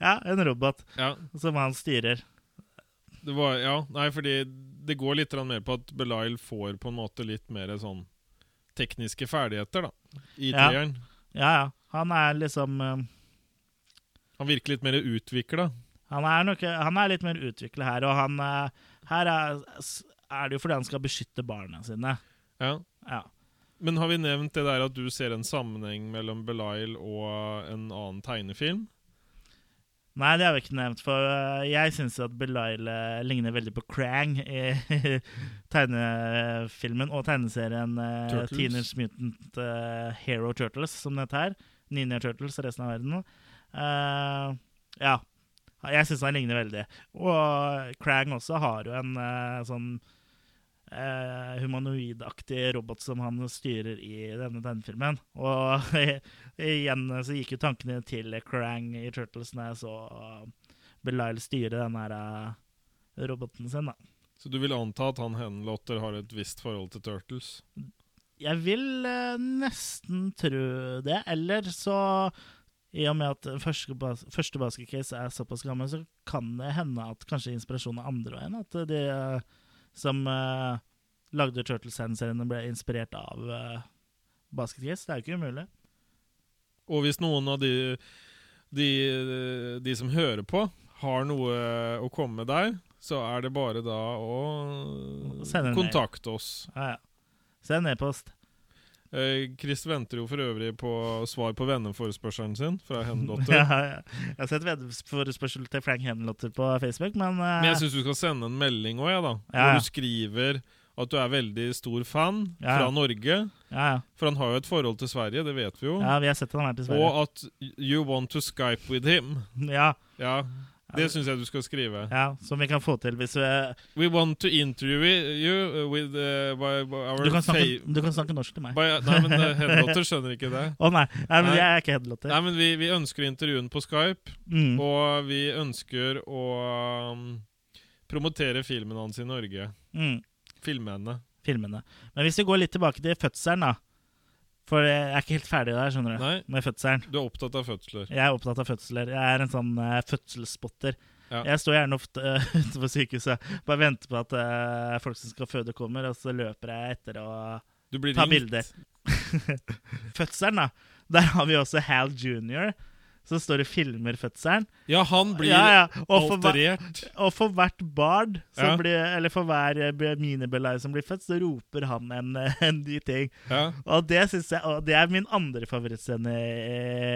Speaker 1: Ja, en robot
Speaker 2: Ja,
Speaker 1: som han styrer.
Speaker 2: det var, ja. Nei, fordi det går litt grann mer på at Belial får på en måte litt mer sånn tekniske ferdigheter, da, i
Speaker 1: Ja.
Speaker 2: treeren.
Speaker 1: Ja, ja. Han er liksom eh,
Speaker 2: Han virker litt mer utvikla.
Speaker 1: han, er nok, han er litt mer utvikla her, og han eh, Her er, s- er det jo fordi han skal beskytte barna sine.
Speaker 2: Ja.
Speaker 1: Ja.
Speaker 2: Men har vi nevnt det der at du ser en sammenheng mellom Belial og en annen tegnefilm?
Speaker 1: Nei, det har vi ikke nevnt, for eh, jeg syns at Belial eh, ligner veldig på Krang i tegnefilmen og tegneserien uh,
Speaker 2: Turtles.
Speaker 1: Teenage Mutant eh, Hero Turtles, som det heter her. Ninja Turtles og resten av verden. Eh, ja. Jeg syns han ligner veldig. Og Krang også har jo en eh, sånn eh, humanoidaktig robot som han styrer i denne tegnefilmen. Og igjen eh, så gikk jo tankene til Krang i Turtles eh, når jeg så Belial styre den her eh, roboten sin, da.
Speaker 2: Så du vil anta at han Henlotter har et visst forhold til Turtles?
Speaker 1: Jeg vil eh, nesten tro det, eller så i og med at første, bas første basketcase er såpass gammel, så kan det hende at kanskje inspirasjonen er andre veien. At de eh, som eh, lagde Turtles-seriene, ble inspirert av uh, basketcase. Det er jo ikke umulig.
Speaker 2: Og hvis noen av de, de, de som hører på, har noe å komme med der, så er det bare da å
Speaker 1: Send en mail.
Speaker 2: kontakte oss.
Speaker 1: Ja, ja. Send e-post.
Speaker 2: Eh, Chris venter jo for øvrig på svar på venneforespørselen sin fra
Speaker 1: Ja,
Speaker 2: Henlotter.
Speaker 1: ja. Jeg har sett veddeforespørsel til Frank Henlotter på Facebook, men, eh,
Speaker 2: Men jeg syns du skal sende en melding òg, jeg, da.
Speaker 1: Ja, ja.
Speaker 2: Hvor du skriver at du er veldig stor fan
Speaker 1: Ja, ja.
Speaker 2: fra Norge.
Speaker 1: ja, ja.
Speaker 2: For han har jo et forhold til Sverige, det vet vi jo.
Speaker 1: ja, vi har sett at han har vært i Sverige.
Speaker 2: Og at you want to Skype with him.
Speaker 1: Ja,
Speaker 2: Ja, det syns jeg du skal skrive.
Speaker 1: ja, som vi kan få til hvis eh, vi
Speaker 2: We want to interview you with uh, by, by our
Speaker 1: Du kan, snakke,
Speaker 2: fa-
Speaker 1: du kan snakke norsk til meg. Å
Speaker 2: by, Nei, men uh, Headlotter skjønner ikke det.
Speaker 1: nei. nei, men
Speaker 2: Nei.
Speaker 1: jeg er ikke headlotter.
Speaker 2: Nei, men vi, vi ønsker intervjuen på Skype,
Speaker 1: Mm.
Speaker 2: og vi ønsker å um, promotere filmen hans i Norge.
Speaker 1: Mm.
Speaker 2: Filmene.
Speaker 1: Filmene. Men hvis vi går litt tilbake til fødselen, da. For jeg er ikke helt ferdig der, skjønner du.
Speaker 2: Nei.
Speaker 1: Med fødselen.
Speaker 2: Du er opptatt av fødsler.
Speaker 1: Jeg er opptatt av fødsler. Jeg er en sånn eh, fødselsspotter.
Speaker 2: Ja.
Speaker 1: Jeg står gjerne ofte eh, utenfor sykehuset bare venter på at eh, folk som skal føde, kommer, og så løper jeg etter og
Speaker 2: Du blir
Speaker 1: Ta
Speaker 2: ringt.
Speaker 1: bilder. Fødselen, da. Der har vi også Hal Junior, som står og filmer fødselen.
Speaker 2: Ja, han blir
Speaker 1: Ja, ja. Og, for hver,
Speaker 2: alterert.
Speaker 1: og for hvert barn, som
Speaker 2: Ja.
Speaker 1: blir, eller for hver eh, be- minibelai som blir født, så roper han en, eh, en ny ting.
Speaker 2: Ja.
Speaker 1: Og det synes jeg Og det er min andre favorittscene i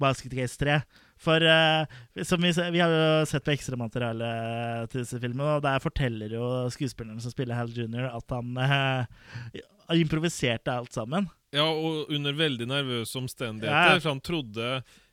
Speaker 1: Basket Case 3. For eh, som vi, se- vi har jo sett på ekstramaterialet til disse filmene, og der forteller jo skuespilleren som spiller Hal Junior, at han eh, improviserte alt sammen.
Speaker 2: ja, og under veldig nervøse
Speaker 1: Ja,
Speaker 2: omstendigheter.
Speaker 1: ja.
Speaker 2: For han trodde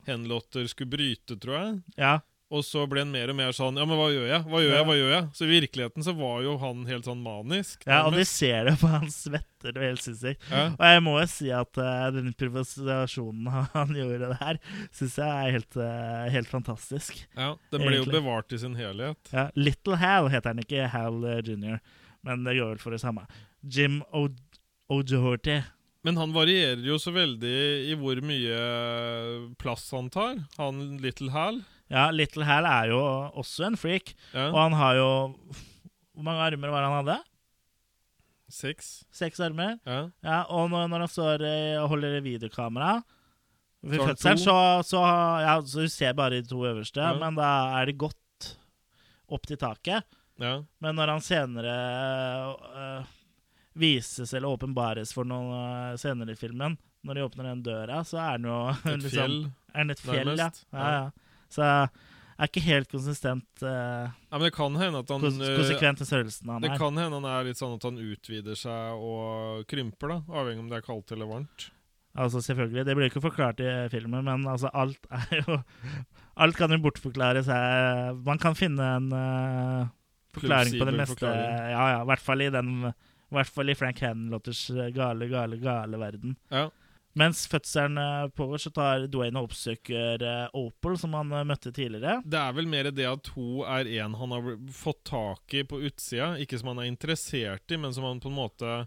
Speaker 2: Henlotter skulle bryte, tror jeg.
Speaker 1: Ja.
Speaker 2: Og så ble han mer og mer sånn Ja, men hva gjør jeg? Hva gjør jeg? Hva gjør jeg? Så i virkeligheten så var jo han helt sånn manisk.
Speaker 1: Ja, og de
Speaker 2: nærmest.
Speaker 1: ser det på han svetter det er helt sinnssykt.
Speaker 2: Ja.
Speaker 1: Og jeg må jo si at eh, den improvisasjonen han gjorde der, syns jeg er helt, eh, helt fantastisk.
Speaker 2: ja, Den ble jo
Speaker 1: Egentlig.
Speaker 2: bevart i sin helhet.
Speaker 1: Ja, Little Hal heter han ikke, Hal eh, Jr., men det går vel for det samme. Jim O- O'Doherty.
Speaker 2: Men han varierer jo så veldig i hvor mye plass han tar. Han Little Hal.
Speaker 1: Ja, Little Hal er jo også en freak, og
Speaker 2: Ja.
Speaker 1: han har jo Hvor mange armer var det han hadde?
Speaker 2: Seks.
Speaker 1: Seks armer?
Speaker 2: Ja.
Speaker 1: Ja, og når, når han står eh, og holder videokamera ved
Speaker 2: Så har han
Speaker 1: fødselen,
Speaker 2: to.
Speaker 1: så, så, ja, så du ser bare de to øverste,
Speaker 2: Ja.
Speaker 1: men da er det godt opp til taket.
Speaker 2: ja.
Speaker 1: Men når han senere eh, vises eller åpenbares for noen eh, senere i filmen, når de åpner den døra, så er den jo
Speaker 2: Et
Speaker 1: liksom-
Speaker 2: fjell.
Speaker 1: Er den et fjell, ja.
Speaker 2: nærmest.
Speaker 1: ja, ja. Så er ikke helt konsistent eh,
Speaker 2: Ja, men det kan hende at han
Speaker 1: kons
Speaker 2: eh,
Speaker 1: konsekvent til størrelsen han
Speaker 2: Det
Speaker 1: er.
Speaker 2: kan hende han er litt sånn at han utvider seg og krymper, da. Avhengig om det er kaldt eller varmt.
Speaker 1: Altså selvfølgelig, Det blir jo ikke forklart i filmen, men altså alt er jo Alt kan jo bortforklares her. Man kan finne en eh, forklaring på det
Speaker 2: Plausibel
Speaker 1: meste.
Speaker 2: forklaring.
Speaker 1: Ja, ja, I hvert fall i den i hvert fall i Frank Hanlotters gale, gale, gale verden.
Speaker 2: Ja.
Speaker 1: Mens fødselen eh, pågår, så tar Dwayne og oppsøker eh, Opal, som han eh, møtte tidligere.
Speaker 2: Det er vel mer det at hun er en han har bl- fått tak i på utsida. Ikke som han er interessert i, men som han på en måte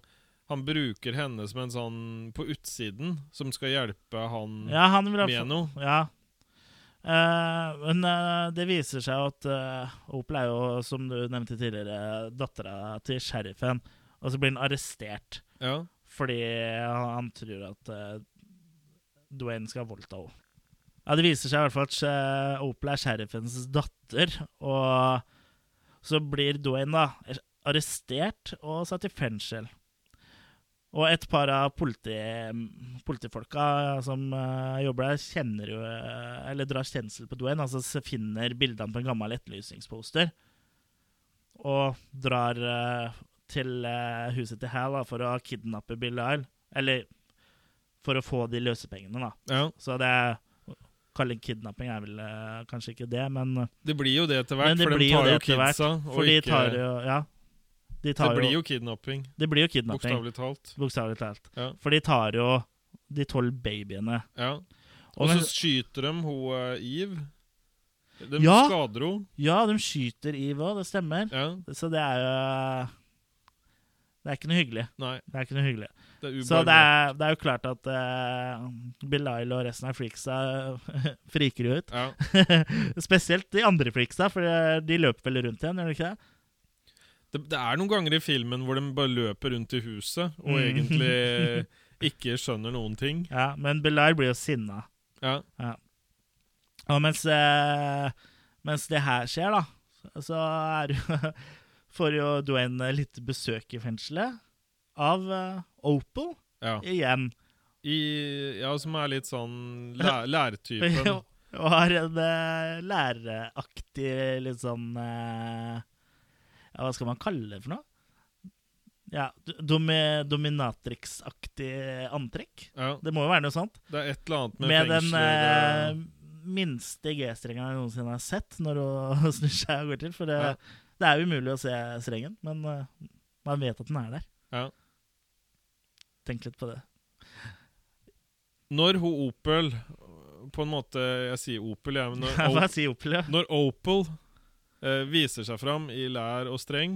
Speaker 2: Han bruker henne som en sånn på utsiden, som skal hjelpe han
Speaker 1: Ja, han vil ha
Speaker 2: med noe.
Speaker 1: Ja. Eh, men eh, det viser seg jo at eh, Opel er jo, som du nevnte tidligere, dattera til sheriffen. Og så blir han arrestert
Speaker 2: Ja.
Speaker 1: fordi han, han tror at eh, Dwayne skal voldta henne. Ja, det viser seg i hvert fall at eh, Opel er sheriffens datter. Og så blir Dwayne da arrestert og satt i fengsel. Og et par av politi, politifolka som eh, jobber der, kjenner jo eh, Eller drar kjensel på Dwayne. Altså s- finner bildene på en gammel etterlysningsposter. Og drar eh, til eh, huset til Hal da, for å kidnappe Bill Lyle. Eller for å få de løsepengene, da.
Speaker 2: ja.
Speaker 1: Så det er Kalle kidnapping er vel eh, kanskje ikke det, men
Speaker 2: Det blir jo det etter
Speaker 1: Men
Speaker 2: hvert,
Speaker 1: det
Speaker 2: for de
Speaker 1: blir jo
Speaker 2: tar jo
Speaker 1: det etter hvert,
Speaker 2: kidsa. og
Speaker 1: For de
Speaker 2: ikke-
Speaker 1: tar jo Ja. De tar
Speaker 2: det blir
Speaker 1: jo,
Speaker 2: jo kidnapping,
Speaker 1: det blir jo kidnapping.
Speaker 2: bokstavelig talt.
Speaker 1: Bokstavelig talt.
Speaker 2: Ja.
Speaker 1: For de tar jo de tolv babyene.
Speaker 2: Ja.
Speaker 1: Og
Speaker 2: Og så
Speaker 1: men-
Speaker 2: skyter de hun eh, Eve. De
Speaker 1: Ja.
Speaker 2: skader henne.
Speaker 1: Ja, de skyter Eve òg, det stemmer.
Speaker 2: Ja.
Speaker 1: Så det er jo eh, Det er ikke noe hyggelig.
Speaker 2: Nei,
Speaker 1: Det er ikke noe hyggelig.
Speaker 2: det er
Speaker 1: Så det
Speaker 2: ubarmhjertig.
Speaker 1: er, det er jo klart at eh, Bill Lyle og resten av freaksa friker jo ut.
Speaker 2: Ja.
Speaker 1: Spesielt de andre freaksa, for eh, de løper vel rundt igjen, gjør de ikke det?
Speaker 2: Det, det er noen ganger i filmen hvor de bare løper rundt i huset og
Speaker 1: Mm.
Speaker 2: egentlig ikke skjønner noen ting.
Speaker 1: Ja, Men Bill Lyle blir jo sinna.
Speaker 2: Ja,
Speaker 1: Og mens, eh, mens det her skjer, da, så er jo Får jo Dwayne litt besøk i fengselet av eh, Opal
Speaker 2: ja.
Speaker 1: igjen.
Speaker 2: I, ja som er litt sånn læ lærtypen.
Speaker 1: og har en eh, læreraktig litt sånn eh, Ja, hva skal man kalle det for noe? Ja, d- domi dominatrix-aktig antrekk.
Speaker 2: Ja,
Speaker 1: Det må jo være noe sånt.
Speaker 2: det er et eller annet med,
Speaker 1: Med den eh,
Speaker 2: fengsler
Speaker 1: minste G-strengen jeg noensinne har sett når hun snur seg og går til. For det,
Speaker 2: Ja.
Speaker 1: det er jo umulig å se strengen, men eh, man vet at den er der.
Speaker 2: Ja.
Speaker 1: Tenk litt på det.
Speaker 2: Når hun Opel På en måte Jeg sier Opel, jeg, men når,
Speaker 1: Hva
Speaker 2: Opel,
Speaker 1: sier Opel? ja?
Speaker 2: når Opel eh, viser seg fram i lær og streng,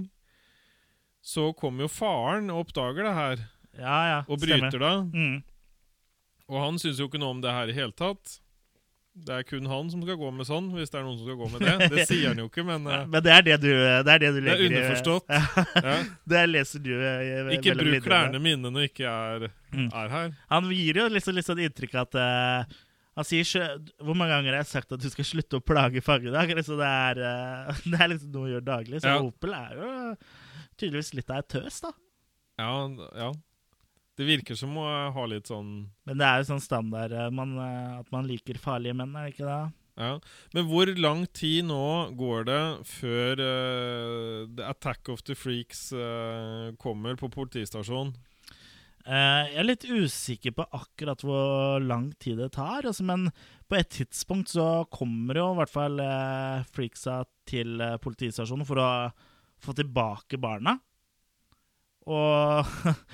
Speaker 2: så kommer jo faren og oppdager det her,
Speaker 1: Ja, ja.
Speaker 2: og
Speaker 1: stemmer.
Speaker 2: bryter det.
Speaker 1: Mm.
Speaker 2: Og han syns jo ikke noe om det her i hele tatt. Det er kun han som skal gå med sånn, hvis det er noen som skal gå med det. Det sier han jo ikke, men eh,
Speaker 1: Men det er det du, det er det du
Speaker 2: det er
Speaker 1: legger i-
Speaker 2: underforstått. Ja.
Speaker 1: Det leser du eh,
Speaker 2: Ikke
Speaker 1: mellom
Speaker 2: bruk
Speaker 1: linjene.
Speaker 2: klærne mine når jeg ikke er,
Speaker 1: Mm.
Speaker 2: er her.
Speaker 1: Han gir jo liksom litt sånn inntrykk at eh, Han sier sjø- Hvor mange ganger har jeg sagt at du skal slutte å plage fangedag? Liksom det, er, eh, det er liksom noe å gjøre daglig. Så
Speaker 2: Ja.
Speaker 1: Opel er jo tydeligvis litt av et tøs, da.
Speaker 2: Ja, ja. Det virker som å ha litt sånn
Speaker 1: Men det er jo sånn standard eh, man, eh, at man liker farlige menn, er det ikke det?
Speaker 2: Ja. Men hvor lang tid nå går det før eh, The Attack of the Freaks eh, kommer på politistasjonen?
Speaker 1: Eh, jeg er litt usikker på akkurat hvor lang tid det tar, altså, men på et tidspunkt så kommer jo i hvert fall eh, freaksa til eh, politistasjonen for å få tilbake barna. Og,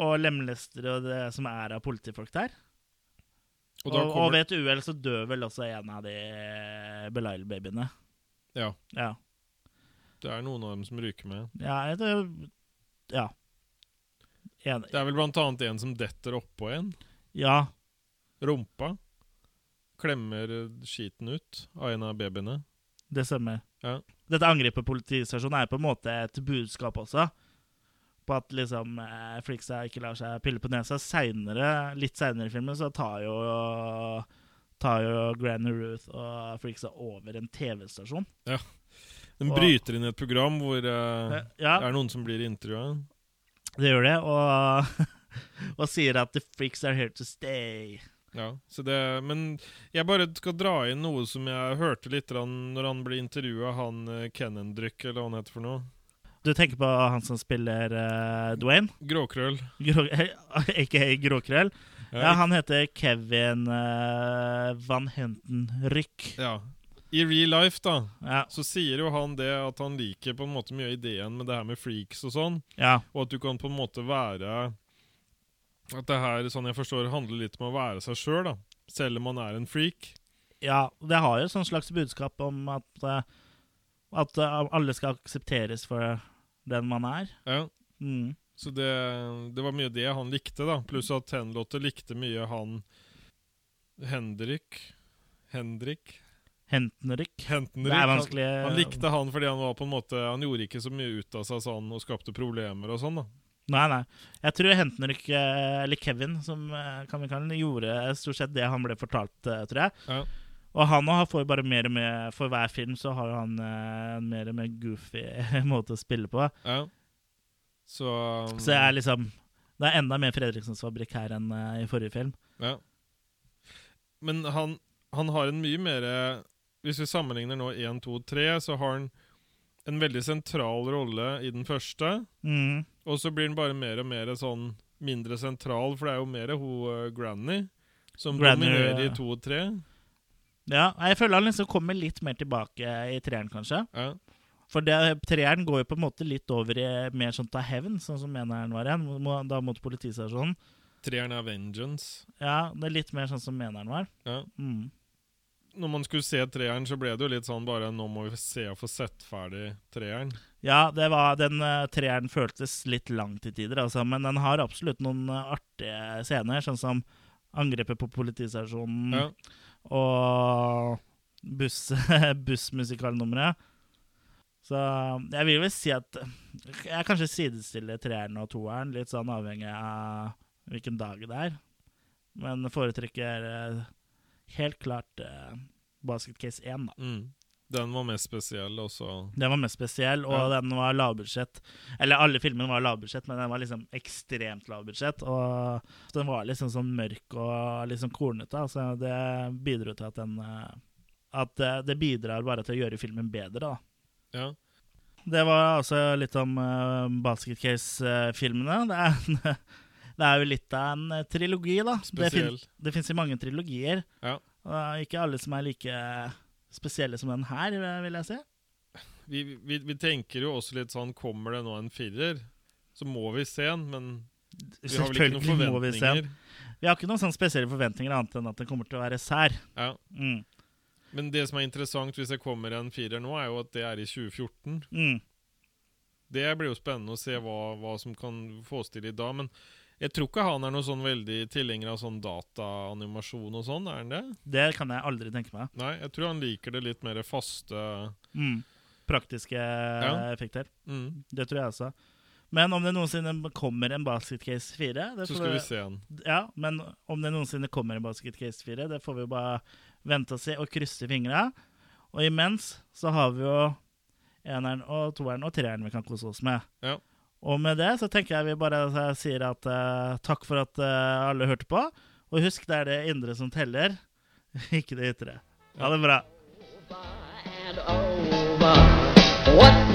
Speaker 1: og lemlester og det som er av politifolk der. Og,
Speaker 2: Og da
Speaker 1: og,
Speaker 2: kommer
Speaker 1: ved et uhell så dør vel også en av de Belial-babyene.
Speaker 2: Ja.
Speaker 1: Ja.
Speaker 2: Det er noen av dem som ryker med.
Speaker 1: Ja. jeg tror- ja. En,
Speaker 2: Det er vel blant annet en som detter oppå en.
Speaker 1: ja.
Speaker 2: Rumpa. Klemmer skiten ut av en av babyene.
Speaker 1: Det stemmer.
Speaker 2: Ja.
Speaker 1: Dette angrepet politistasjonen er på en måte et budskap også. På at liksom eh, Fliksa ikke lar seg pille på nesa. Senere, litt seinere i filmen så tar jo Tar jo Granny Ruth og Fliksa over en TV-stasjon.
Speaker 2: Den
Speaker 1: Og-
Speaker 2: bryter inn i et program hvor eh,
Speaker 1: Ja,
Speaker 2: det er noen som blir intervjua.
Speaker 1: det gjør det, og, og sier at 'the freaks are here to stay'.
Speaker 2: Ja, så det, men jeg bare skal dra inn noe som jeg hørte litt grann når han ble intervjua, han eh, Kennendryck, eller hva han heter for noe.
Speaker 1: Du tenker på han som spiller eh, Dwayne?
Speaker 2: Gråkrøll.
Speaker 1: Grå, ikke Gråkrøll?
Speaker 2: Ja,
Speaker 1: Ja, han heter Kevin eh, Van Henten Ryck.
Speaker 2: ja. I real life, da,
Speaker 1: Ja,
Speaker 2: så sier jo han det at han liker på en måte mye av ideen med det her med freaks og sånn,
Speaker 1: ja.
Speaker 2: og at du kan på en måte være At det her, sånn jeg forstår, handler litt om å være seg sjøl, da. Selv om man er en freak.
Speaker 1: Ja, det har jo et sånt slags budskap om at eh, At eh, alle skal aksepteres for den man er.
Speaker 2: Ja.
Speaker 1: Mm.
Speaker 2: Så det, det var mye det han likte, da. Pluss at Henlotte likte mye han Hendrik Hendrik
Speaker 1: Hentenrykk.
Speaker 2: Hentenrik.
Speaker 1: Det er vanskelig eh,
Speaker 2: Han, han likte han fordi han var på en måte Han gjorde ikke så mye ut av seg sånn og skapte problemer og sånn, da.
Speaker 1: Nei, nei. Jeg tror Hentenrykk, eh, eller Kevin, som eh, kan vi kalle han, gjorde stort sett det han ble fortalt, eh, tror jeg.
Speaker 2: Ja.
Speaker 1: Og han nå får bare mer og mer For hver film så har han eh, en mer og mer goofy måte å spille på.
Speaker 2: Ja. Så, um,
Speaker 1: Så jeg er liksom Det er enda mer Fredriksens Fabrikk her enn eh, i forrige film.
Speaker 2: ja. Men han, han har en mye mer Hvis vi sammenligner nå 1, 2, 3, så har han en veldig sentral rolle i den første.
Speaker 1: Mm.
Speaker 2: Og så blir den bare mer og mer sånn mindre sentral, for det er jo mer hun eh, Granny som
Speaker 1: Granny,
Speaker 2: dominerer i
Speaker 1: ja.
Speaker 2: to og tre.
Speaker 1: Ja, jeg føler han liksom kommer litt mer tilbake i treeren, kanskje.
Speaker 2: Ja.
Speaker 1: For det, treeren går jo på en måte litt over i mer sånn ta hevn, sånn som eneren var igjen, mo- da mot politistasjonen.
Speaker 2: Treeren er vengeance.
Speaker 1: Ja, det er litt mer sånn som eneren var.
Speaker 2: Ja.
Speaker 1: Mm.
Speaker 2: Når man skulle se treeren, så ble det jo litt sånn bare Nå må vi se og få sett ferdig treeren.
Speaker 1: Ja, det var, den eh, treeren føltes litt lang til tider, altså, men den har absolutt noen eh, artige scener, sånn som angrepet på politistasjonen
Speaker 2: Ja.
Speaker 1: og buss, bussmusikalnummeret. Så jeg vil vel si at jeg kanskje sidestiller treeren og toeren, litt sånn avhengig av hvilken dag det er. Men foretrekker eh, helt klart eh, Basket Case 1, da.
Speaker 2: Mm. Den var mest spesiell, og så
Speaker 1: Den var mest spesiell, og
Speaker 2: Ja.
Speaker 1: den var lavbudsjett. Eller alle filmene var lavbudsjett, men den var liksom ekstremt lavbudsjett. Og den var liksom sånn mørk og litt sånn kornete. Altså det bidro til at den eh, At eh, det bidrar bare til å gjøre filmen bedre, da.
Speaker 2: Ja.
Speaker 1: Det var altså litt om uh, Basket Case-filmene. Det, er en- det er jo litt av en eh, trilogi, da. Det fin-
Speaker 2: Spesiell.
Speaker 1: Det fins jo mange trilogier.
Speaker 2: Ja.
Speaker 1: Og ikke alle som er like spesielle som den her, vil jeg si.
Speaker 2: Vi, vi, vi tenker jo også litt sånn Kommer det nå en firer, så må vi se den, men vi har vel ikke noen
Speaker 1: Selvfølgelig må vi se den.
Speaker 2: forventninger.
Speaker 1: Vi har ikke noen sånne spesielle forventninger annet enn at den kommer til å være sær.
Speaker 2: Ja.
Speaker 1: Mm.
Speaker 2: Men det som er interessant hvis det kommer en firer nå, er jo at det er i 2014.
Speaker 1: Mm.
Speaker 2: Det blir jo spennende å se hva, hva som kan fås til i dag, men Jeg tror ikke han er noe sånn veldig tilhenger av sånn dataanimasjon og sånn, er han det?
Speaker 1: Det kan jeg aldri tenke meg.
Speaker 2: Nei, jeg tror han liker det litt mer faste
Speaker 1: Mm. Praktiske effekter.
Speaker 2: mm.
Speaker 1: Det tror jeg også. Men om det noensinne kommer en Basket Case 4 det
Speaker 2: Så
Speaker 1: får
Speaker 2: skal
Speaker 1: vi-
Speaker 2: vi se han.
Speaker 1: Ja, men om det noensinne kommer en Basket Case 4, det får vi jo bare vente og se og krysse fingra. Og imens så har vi jo eneren og toeren og treeren vi kan kose oss med.
Speaker 2: Ja.
Speaker 1: Og med det så tenker jeg vi bare eh, sier at eh, takk for at eh, alle hørte på. Og husk, det er det indre som teller, ikke det ytre. Ha det bra.
Speaker 7: and over. What